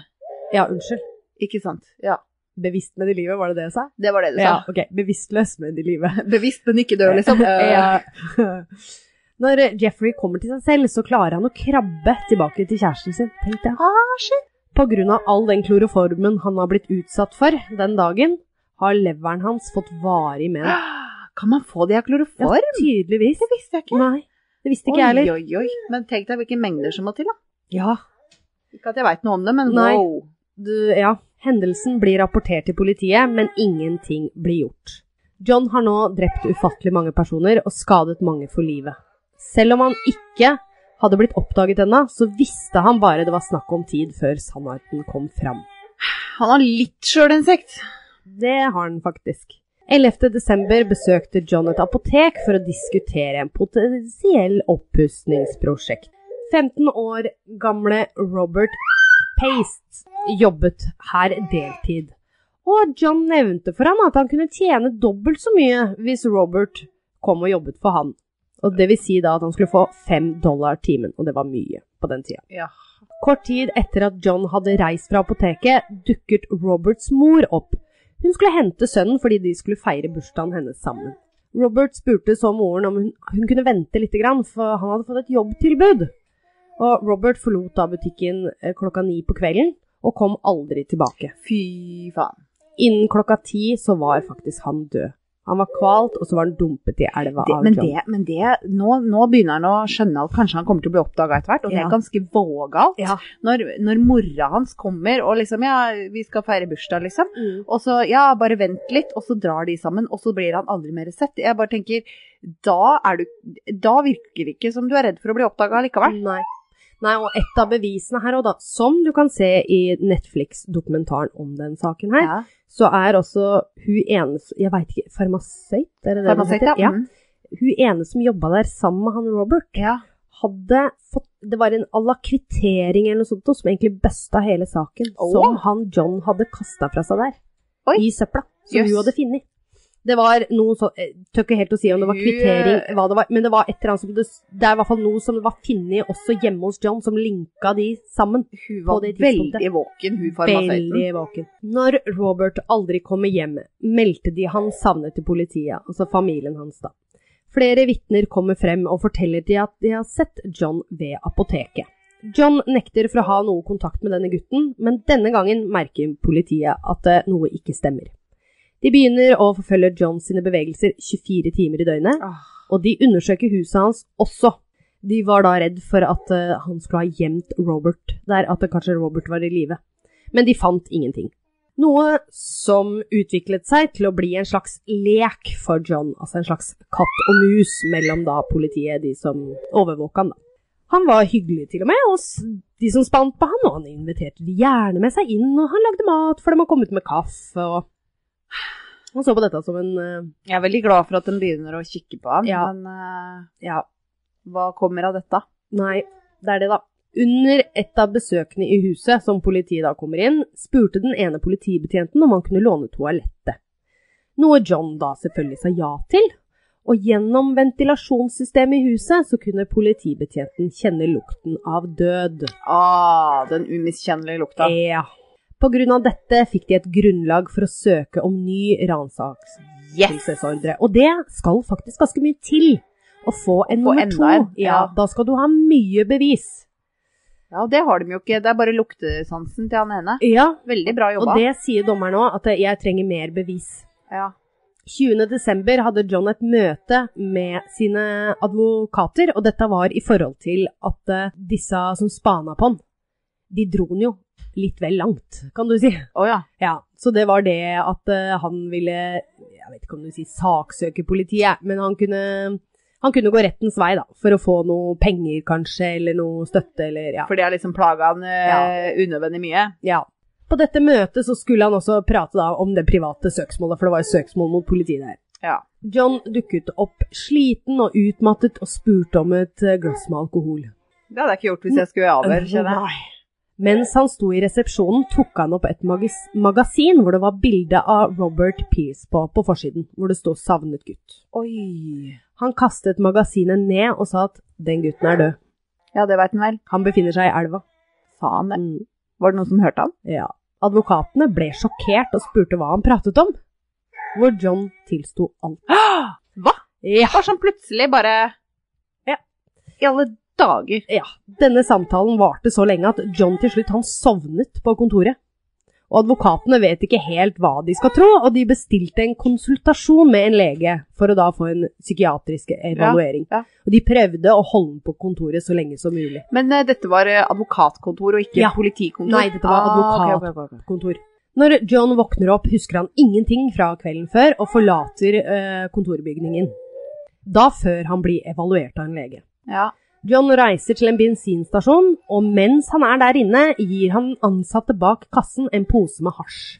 Ja, unnskyld.
Ikke sant. Ja,
Bevisst, men i live, var det det jeg sa?
det var det du
Ja,
sa.
ok. Bevisstløs, men i live.
Bevisst, men ikke død, liksom. Eh,
Ja. Når Jeffrey kommer til seg selv, så klarer han å krabbe tilbake til kjæresten sin, tenkte jeg.
Ah, shit.
På grunn av all den kloroformen han har blitt utsatt for den dagen, har leveren hans fått varig men.
Eh, Kan man få det av kloroform?
Ja, tydeligvis.
Det visste jeg ikke.
Nei, det visste ikke jeg heller.
Oi, oi, oi. Men tenk deg hvilke mengder som må til, da.
Ja,
Ikke at jeg veit noe om det, men
Nei.
wow.
du, ja. Hendelsen blir rapportert til politiet, men ingenting blir gjort. John har nå drept ufattelig mange personer og skadet mange for livet. Selv om han ikke hadde blitt oppdaget ennå, så visste han bare det var snakk om tid før sannheten kom fram.
Han har litt sjølinnsikt.
Det har han faktisk. 11. desember besøkte John et apotek for å diskutere en potensiell oppussingsprosjekt. 15 år gamle Robert Paste jobbet her deltid. Og John nevnte for ham at han kunne tjene dobbelt så mye hvis Robert kom og jobbet for han. Og det vil si da at han skulle få fem dollar timen, og det var mye på den tida.
Ja.
Kort tid etter at John hadde reist fra apoteket, dukket Roberts mor opp. Hun skulle hente sønnen fordi de skulle feire bursdagen hennes sammen. Robert spurte så moren om hun, hun kunne vente litt, for han hadde fått et jobbtilbud. Og Robert forlot da butikken eh, klokka ni på kvelden, og kom aldri tilbake.
Fy faen.
Innen klokka ti så var faktisk han død. Han var kvalt, og så var han dumpet i elva
Det,
av
men
John.
det, men det nå, nå begynner han å skjønne at kanskje han kommer til å bli oppdaga etter hvert, og det
Ja.
er ganske vågalt.
Ja.
Når, når mora hans kommer og liksom Ja, vi skal feire bursdag, liksom.
Mm.
Og så, ja, bare vent litt, og så drar de sammen, og så blir han aldri mer sett. Jeg bare tenker, da, er du, da virker det ikke som du er redd for å bli oppdaga likevel.
Nei. Nei, og et av bevisene her òg, da, som du kan se i Netflix-dokumentaren om den saken her,
Ja.
så er også hun ene s- Jeg veit ikke, farmasøyt? Er det det det
Farmasøyt,
heter?
ja.
Ja.
Mm.
Hun ene som jobba der sammen med han Robert,
ja.
hadde fått Det var en à la kvittering eller noe sånt noe som egentlig busta hele saken,
Åh.
som han John hadde kasta fra seg der.
Oi.
I søpla. Som
Jøs.
hun hadde funnet. Det var noe sånn Jeg tør ikke helt å si om det var
Hun-
kvittering, hva det var, men det var et eller annet som det, det er i hvert fall noe som var funnet også hjemme hos John, som linka de sammen.
Hun var
det tidspunktet.
veldig våken, hun farmasøyten.
Veldig våken. Når Robert aldri kommer hjem, meldte de han savnet til politiet, altså familien hans da. Flere vitner kommer frem og forteller de at de har sett John ved apoteket. John nekter for å ha noe kontakt med denne gutten, men denne gangen merker politiet at eh, noe ikke stemmer. De begynner å forfølge John sine bevegelser 24 timer i døgnet,
Åh.
og de undersøker huset hans også. De var da redd for at eh, han skulle ha gjemt Robert der, at det kanskje Robert var i live. Men de fant ingenting. Noe som utviklet seg til å bli en slags lek for John, altså en slags katt og mus mellom da politiet, de som overvåka han da. Han var hyggelig til og med, og s- de som spant på han, og han inviterte de gjerne med seg inn, og han lagde mat for dem og kom ut med kaffe, og han så på dette som en, eh,
Jeg er veldig glad for at de begynner å kikke på han,
Ja.
men eh,
ja,
hva kommer av dette?
Nei, det er det, da. Under et av besøkene i huset, som politiet da kommer inn, spurte den ene politibetjenten om han kunne låne toalettet. Noe John da selvfølgelig sa ja til, og gjennom ventilasjonssystemet i huset så kunne politibetjenten kjenne lukten av død.
Ah, den umiskjennelige lukta.
Ja. På grunn av dette fikk de et grunnlag for å søke om ny ransaksordre, og det skal faktisk ganske mye til å få en
Få
nummer
enda
to.
en,
Ja,
ja.
da skal du ha mye bevis.
Ja, det har de jo ikke. Det er bare luktesansen til han ene.
Ja,
Veldig bra
Og
jobba.
det sier dommeren òg, at jeg trenger mer bevis.
Ja.
20.12. hadde John et møte med sine advokater, og dette var i forhold til at eh, disse som spana på han, de dro han jo litt vel langt, kan du si.
Å ja.
Ja, Så det var det at eh, han ville, jeg vet ikke om du sier saksøke politiet, men han kunne, han kunne gå rettens vei, da, for å få noe penger kanskje, eller noe støtte, eller ja.
For det har liksom plaga han eh, unødvendig mye.
Ja. På dette møtet så skulle han også prate da om det private søksmålet, for det var jo søksmål mot politiet der.
Ja.
John dukket opp sliten og utmattet og spurte om et eh, glass med alkohol.
Det hadde jeg ikke gjort hvis jeg skulle i avhør, kjenner jeg.
Nei. Mens han sto i resepsjonen, tok han opp et magis magasin hvor det var bilde av Robert Pearce på, på forsiden, hvor det sto 'savnet gutt'.
Oi.
Han kastet magasinet ned og sa at 'den gutten er død'.
Ja, det veit han vel.
Han befinner seg i elva.
Faen, det.
Mm.
Var det noen som hørte han?
Ja. Advokatene ble sjokkert og spurte hva han pratet om, hvor John tilsto alt.
Hva?
Ja.
Bare sånn plutselig bare
Ja.
I alle dager.
Ja, denne samtalen varte så lenge at John til slutt han sovnet på kontoret. Og advokatene vet ikke helt hva de skal tro, og de bestilte en konsultasjon med en lege for å da få en psykiatrisk evaluering.
ja.
Og de prøvde å holde den på kontoret så lenge som mulig.
Men eh, dette var eh, advokatkontor og ikke
Ja.
politikontor? Ah,
Nei, dette var
ok,
advokat.
ok, ok, ok.
kontor. Når John våkner opp, husker han ingenting fra kvelden før og forlater eh, kontorbygningen. Da før han blir evaluert av en lege.
Ja.
John reiser til en bensinstasjon, og mens han er der inne, gir han ansatte bak kassen en pose med hasj.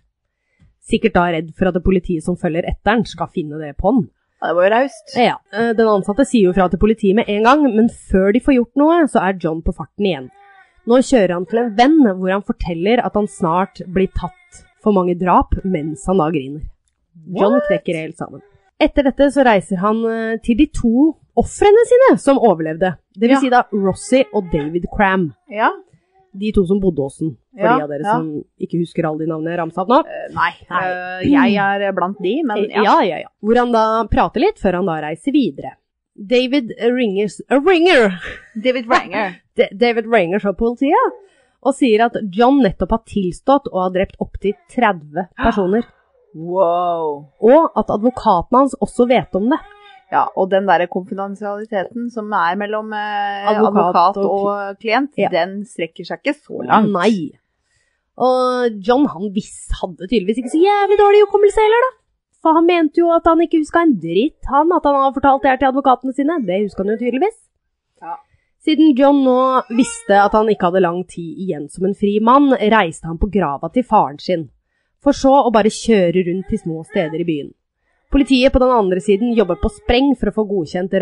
Sikkert da redd for at det politiet som følger etter han, skal finne det på han.
Ja, Det var jo raust.
Ja, eh, Den ansatte sier jo fra til politiet med en gang, men før de får gjort noe, så er John på farten igjen. Nå kjører han til en venn, hvor han forteller at han snart blir tatt for mange drap, mens han da griner. John knekker helt sammen. Etter dette så reiser han eh, til de to ofrene sine som overlevde. Det vil
Ja.
si da Rossi og David Cram.
Ja.
De to som bodde hos den, for
Ja,
de av dere
ja.
som ikke husker alle de navnene jeg ramsa opp nå.
Eh, Nei,
Nei.
eh, jeg er eh, blant de, men
ja.
ja.
ja, ja, Hvor han da prater litt før han da reiser videre. David Ringers, Ringer,
David Ranger.
D David Ringer fra politiet, og sier at John nettopp har tilstått og har drept opptil 30 personer.
Wow.
Og at advokaten hans også vet om det.
Ja, og den derre konfidensialiteten som er mellom eh, advokat,
Advokat og
og, klient,
Ja.
den strekker seg ikke så langt.
Nei. Og John han visst hadde tydeligvis ikke så jævlig dårlig hukommelse heller, da. For han mente jo at han ikke huska en dritt, han, at han har fortalt det her til advokatene sine. Det huska han jo tydeligvis.
Ja.
Siden John nå visste at han ikke hadde lang tid igjen som en fri mann, reiste han på grava til faren sin, for så å bare kjøre rundt til små steder i byen. Politiet på den andre siden jobber på spreng for å få godkjent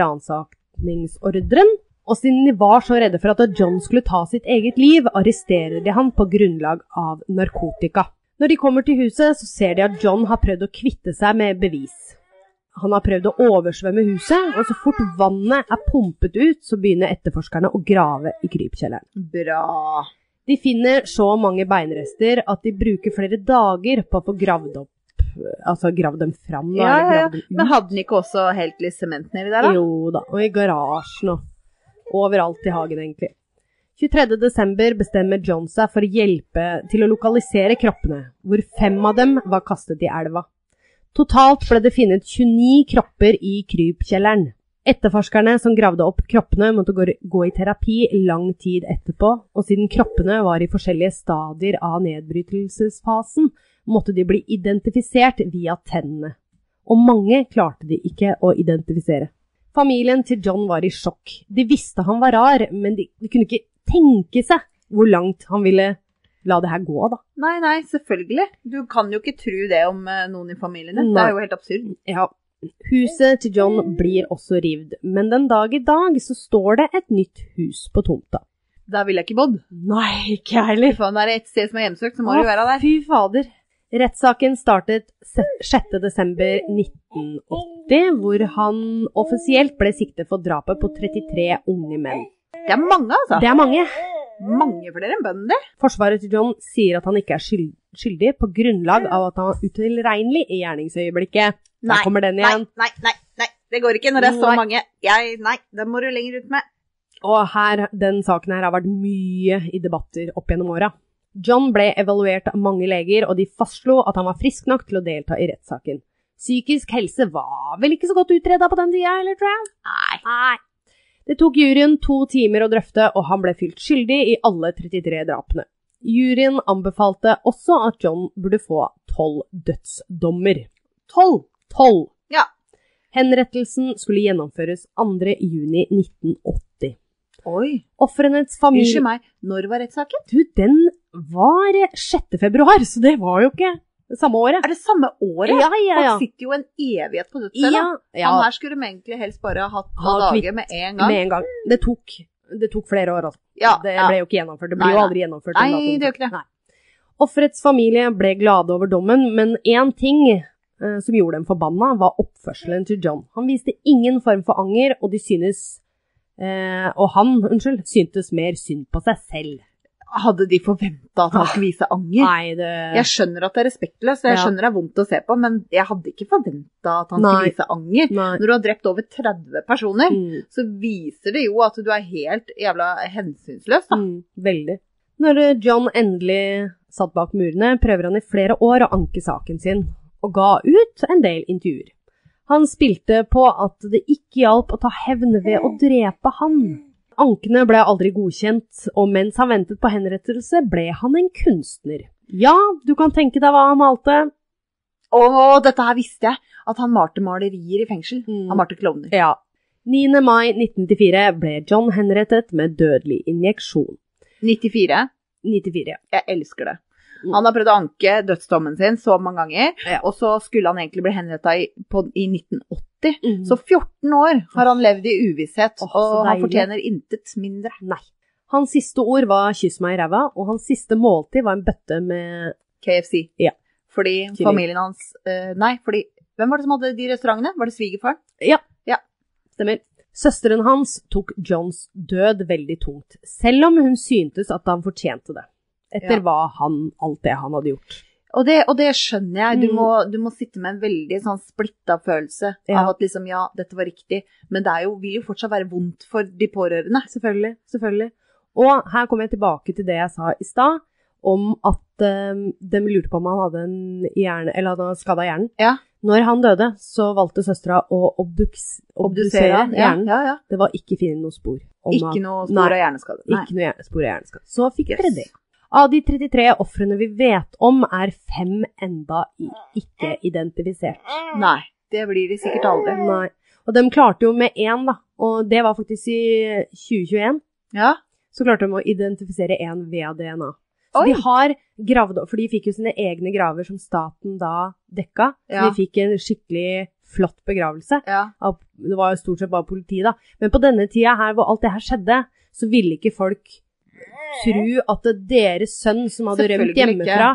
ransakningsordren, og siden de var så redde for at John skulle ta sitt eget liv, arresterer de han på grunnlag av narkotika. Når de kommer til huset, så ser de at John har prøvd å kvitte seg med bevis. Han har prøvd å oversvømme huset, og så fort vannet er pumpet ut, så begynner etterforskerne å grave i krypkjelleren.
Bra.
De finner så mange beinrester at de bruker flere dager på å få gravd opp Altså gravd dem fram, da.
Ja, ja,
eller
ja.
gravd dem ut.
Men hadde den ikke også helt litt sement nedi der, da?
Jo da, og i garasjen og overalt i hagen, egentlig. 23. desember bestemmer John seg for å hjelpe til å lokalisere kroppene, hvor fem av dem var kastet i elva. Totalt ble det funnet 29 kropper i krypkjelleren. Etterforskerne som gravde opp kroppene, måtte gå gå i terapi lang tid etterpå, og siden kroppene var i forskjellige stadier av nedbrytelsesfasen, måtte de bli identifisert via tennene. Og mange klarte de ikke å identifisere. Familien til John var i sjokk. De visste han var rar, men de, de kunne ikke tenke seg hvor langt han ville la det her gå, da.
Nei, nei, selvfølgelig. Du kan jo ikke tro det om eh, noen i familien din. Det
Nei.
er jo helt absurd.
Ja. Huset til John blir også rivd, men den dag i dag så står det et nytt hus på tomta.
Der ville jeg ikke bodd.
Nei, ikke jeg heller.
Faen, er det et sted som er hjemsøkt, så må du være der.
Fy fader. Rettssaken startet se- 6. desember 1980, hvor han offisielt ble siktet for drapet på 33 unge menn.
Det er mange, altså.
Det er mange.
Mange flere enn bønder.
Forsvaret til John sier at han ikke er skyld, skyldig på grunnlag av at han var utilregnelig i gjerningsøyeblikket. Der
Nei,
kommer den
Nei,
igjen.
nei, nei, nei. Det går ikke når det er så
Nei.
mange. Jeg, nei, den må du lenger ut med.
Og her, den saken her har vært mye i debatter opp gjennom åra. John ble evaluert av mange leger, og de fastslo at han var frisk nok til å delta i rettssaken. Psykisk helse var vel ikke så godt utreda på den tida, eller, tror jeg?
Nei.
Nei. Det tok juryen to timer å drøfte, og han ble fylt skyldig i alle 33 drapene. Juryen anbefalte også at John burde få tolv dødsdommer. Tolv? Tolv.
Ja.
Henrettelsen skulle gjennomføres 2. juni 1980.
Oi.
Ofrenes familie
Unnskyld meg, når var rettssaken?
Du, den var 6. februar, så det var jo ikke samme året.
Er det samme året?
Ja, ja, ja.
Han sitter jo en evighet på
ja,
dødscella.
ja.
Han her skulle vi egentlig helst bare ha hatt noen
Ha kvitt
dager med en gang.
Med en gang. Det tok, det tok flere år, altså.
Ja,
det
ja.
ble jo ikke gjennomført. Det
Nei,
blir jo
nei.
aldri gjennomført.
Nei,
den datoen.
det gjør ikke det.
Nei. Offerets familie ble glade over dommen, men én ting eh, som gjorde dem forbanna, var oppførselen til John. Han viste ingen form for anger, og de synes eh, Og han, unnskyld, syntes mer synd på seg selv.
Hadde de forventa at han skulle vise anger?
Ah. Nei, det
Jeg skjønner at det er respektløst, og jeg
Ja.
skjønner det er vondt å se på, men jeg hadde ikke forventa at han
Nei.
skulle vise anger.
Nei.
Når du har drept over 30 personer,
Mm.
så viser det jo at du er helt jævla hensynsløs, da.
Mm, veldig. Når eh, John endelig satt bak murene, prøver han i flere år å anke saken sin, og ga ut en del intervjuer. Han spilte på at det ikke hjalp å ta hevn ved å drepe han. Ankene ble aldri godkjent, og mens han ventet på henrettelse, ble han en kunstner. Ja, du kan tenke deg hva han malte.
Og dette her visste jeg, at han malte malerier i fengsel.
Mm.
Han malte klovner.
Ja. 9. mai 1994 ble John henrettet med dødelig injeksjon.
94.
94, ja.
Jeg elsker det.
Mm.
Han har prøvd å anke dødsdommen sin så mange ganger,
Ja.
og så skulle han egentlig bli henretta i, på- i 1980.
Så
Så 14 år har han levd i uvisshet,
Mm. Åh, så
og han
deilig.
fortjener intet mindre.
Nei. Hans siste ord var 'kyss meg i ræva', og hans siste måltid var en bøtte med
KFC.
Ja.
Fordi
Kylling.
familien hans eh, Nei, fordi Hvem var det som hadde de restaurantene? Var det svigerfaren?
Stemmer. Søsteren hans tok Johns død veldig tungt, selv om hun syntes at han fortjente det. Etter
Ja.
hva han, alt det han hadde gjort.
Og det, og det skjønner jeg. Du
Mm.
må, du må sitte med en veldig sånn splitta følelse
Ja.
av at liksom, ja, dette var riktig, men det er jo, vil jo fortsatt være vondt for de pårørende.
Selvfølgelig, selvfølgelig. Og her kommer jeg tilbake til det jeg sa i stad, om at eh, de lurte på om han hadde en hjerne, eller hadde skada hjernen.
Ja.
Når han døde, så valgte søstera å obduks,
Obdusere
obdusere
han. Ja,
hjernen.
ja, ja.
Det var ikke funnet noe spor. om at-
Ikke noe
Nei.
spor av hjerneskade. Nei.
Ikke noe hjerne- spor av hjerneskade. Så fikk
Yes.
dere det. Av de 33 ofrene vi vet om, er fem enda i- ikke identifisert.
Nei. Det blir de sikkert aldri.
Nei. Og de klarte jo med én, da. Og det var faktisk i 2021.
Ja.
Så klarte de å identifisere én via DNA. Så
Oi!
de har gravd opp, for de fikk jo sine egne graver som staten da dekka.
Ja.
Så de fikk en skikkelig flott begravelse.
Ja.
av- Det var jo stort sett bare politi, da. Men på denne tida her, hvor alt det her skjedde, så ville ikke folk tro at deres sønn som hadde rømt
Selvfølgelig
hjemmefra,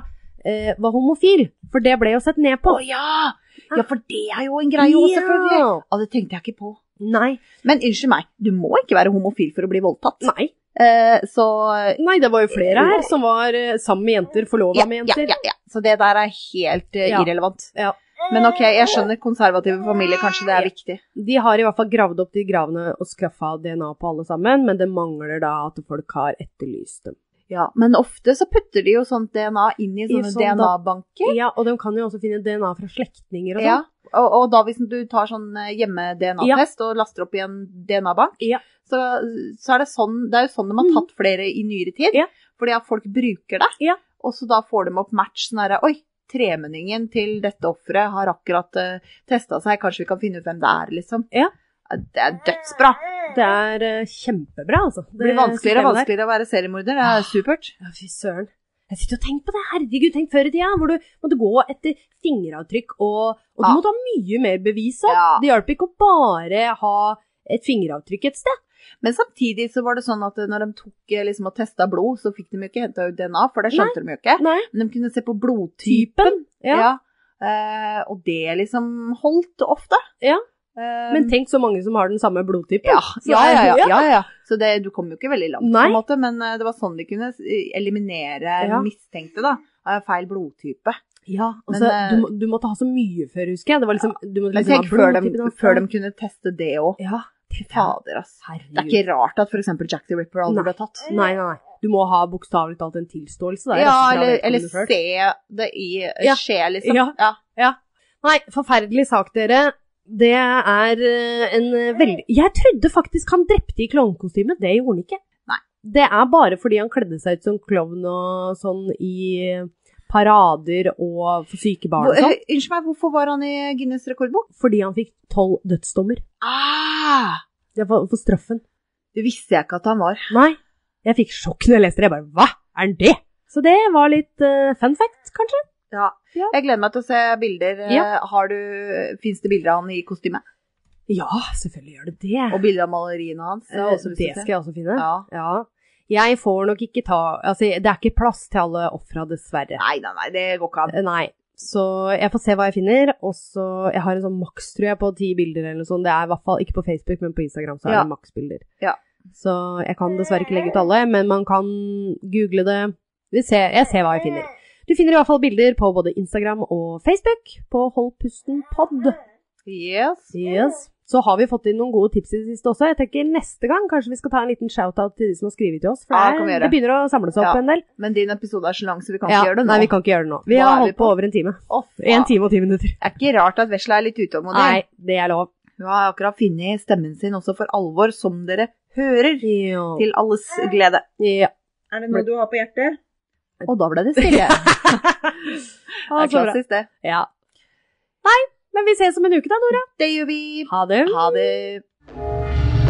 eh, var homofil. For det ble jo sett ned
Å
på.
ja! Ja, for det er jo en greie òg,
Ja.
selvfølgelig. Ja, det tenkte jeg ikke på.
Nei.
Men unnskyld meg, du må ikke være homofil for å bli voldtatt.
Nei.
Eh, så
Nei, det var jo flere her som var eh, sammen med jenter, forlova
ja,
med
ja,
jenter.
ja, ja. Så det der er helt eh,
Ja.
irrelevant.
Ja.
Men ok, jeg skjønner konservative familier, kanskje det er
Ja.
viktig.
De har i hvert fall gravd opp de gravene og skaffa DNA på alle sammen, men det mangler da at folk har etterlyst dem.
Ja, Men ofte så putter de jo sånt DNA inn i sånne
sånn da-
DNA-banker.
Ja, og de kan jo også finne DNA fra slektninger og sånn.
Ja, og, og da hvis du tar sånn eh, hjemme-DNA-test og laster opp i en DNA-bank,
Ja. Mm.
så, så er det sånn Det er jo sånn de har tatt flere i nyere tid,
Ja.
fordi at folk bruker det.
Ja.
Og så da får de opp match sånn herre Oi, tremenningen til dette offeret har akkurat uh, testa seg, kanskje vi kan finne ut hvem det er, liksom.
Ja.
Det er dødsbra.
Det er eh, kjempebra, altså.
Det blir vanskeligere og
systemet der. Ah.
vanskeligere å være seriemorder. Det er supert.
Ja, fy søren. Jeg sitter og tenker på det. Herregud, tenk før i tida, hvor du måtte gå etter fingeravtrykk, og, og du
Ja.
måtte ha mye mer bevis òg.
Ja.
Det hjalp ikke å bare ha et fingeravtrykk et sted.
Men samtidig så var det sånn at når de tok eh, liksom, og testa blod, så fikk de jo ikke henta ut DNA, for det skjønte de jo ikke.
Nei.
Men de kunne se på blodtypen.
Typen. Ja.
Eh, og det liksom holdt ofte.
Ja.
Eh,
Men tenk så mange som har den samme blodtypen.
ja,
Så
ja, ja, ja,
er-
ja, ja. Så det, du kom jo ikke veldig langt, på
Nei.
en måte, men eh, det var sånn de kunne eh, eliminere
Ja.
mistenkte da, av feil blodtype.
Ja,
Men,
altså,
eh,
du, må- du måtte ha så mye før, husker jeg. Det var liksom, du måtte
Men
liksom
tenk før de,
blodtypen og-
før de kunne teste det òg.
Ja.
Fader, ass. Det er
Herregud.
ikke rart at f.eks. Jack the Ripper aldri
Nei.
ble tatt.
Nei, nei, nei. Du må ha bokstavelig talt en tilståelse der.
Ja,
altså, fra
eller,
vedkommende
eller
selv.
se det i
Ja.
skje, liksom.
Ja.
Ja.
Nei, forferdelig sak, dere. Det er eh, en eh, veldig Jeg trodde faktisk han drepte i klovnekostyme. Det gjorde han ikke.
Nei.
Det er bare fordi han kledde seg ut som klovn og sånn i parader og for syke barn
Hvor-
og sånn.
eh, Unnskyld meg, hvorfor var han i Guinness rekordbok?
Fordi han fikk tolv dødsdommer.
Ah,
Det var for straffen.
det visste jeg ikke at han var.
Nei. Jeg fikk sjokk når jeg leste det. Jeg bare Hva er han det? Så det var litt eh, fun fact, kanskje.
Ja.
Ja.
Jeg gleder meg til å se bilder. Eh,
Ja.
Har du, Fins det bilder av han i kostyme?
Ja, selvfølgelig gjør det det.
Og bilder av maleriene hans? har jeg
Eh,
også lyst
det
til å se.
skal jeg også finne.
Ja.
Ja. Jeg får nok ikke ta Altså, det er ikke plass til alle ofra, dessverre.
Nei, nei, nei, det går ikke an.
Eh, Nei. Så jeg får se hva jeg finner. Og så Jeg har en sånn maks, tror jeg, på ti bilder eller noe sånt. Det er i hvert fall ikke på Facebook, men på Instagram så er
Ja.
det maksbilder.
Ja.
Så jeg kan dessverre ikke legge ut alle, men man kan google det. Vi ser, jeg ser hva jeg finner. Du finner i hvert fall bilder på både Instagram og Facebook på Hold pusten pod.
Yes.
Yes. Så har vi fått inn noen gode tips i det siste også. Jeg tenker Neste gang kanskje vi skal ta en liten shout-out til de som har skrevet til oss. For
Ja, det
det,
kan vi
er,
gjøre.
det begynner å samle seg opp
Ja.
en del.
Men din episode er så lang, så vi kan
Ja,
ikke gjøre det nå.
Nei, vi kan ikke gjøre det nå. Vi
Hva
har
er vi
holdt på
på?
over en time.
Å, faen.
En time og ti minutter.
Det er ikke rart at vesla er litt utålmodig.
Nei, det er lov.
Hun har akkurat funnet stemmen sin også for alvor, som dere hører.
Ja.
Til alles glede.
ja.
Er det noe du har på hjertet?
Og da ble det stille. Det
Ah,
er
så bra.
klassisk, det.
Ja. Nei, men vi ses om en uke da, Nora.
Det gjør vi.
Ha det.
Ha det.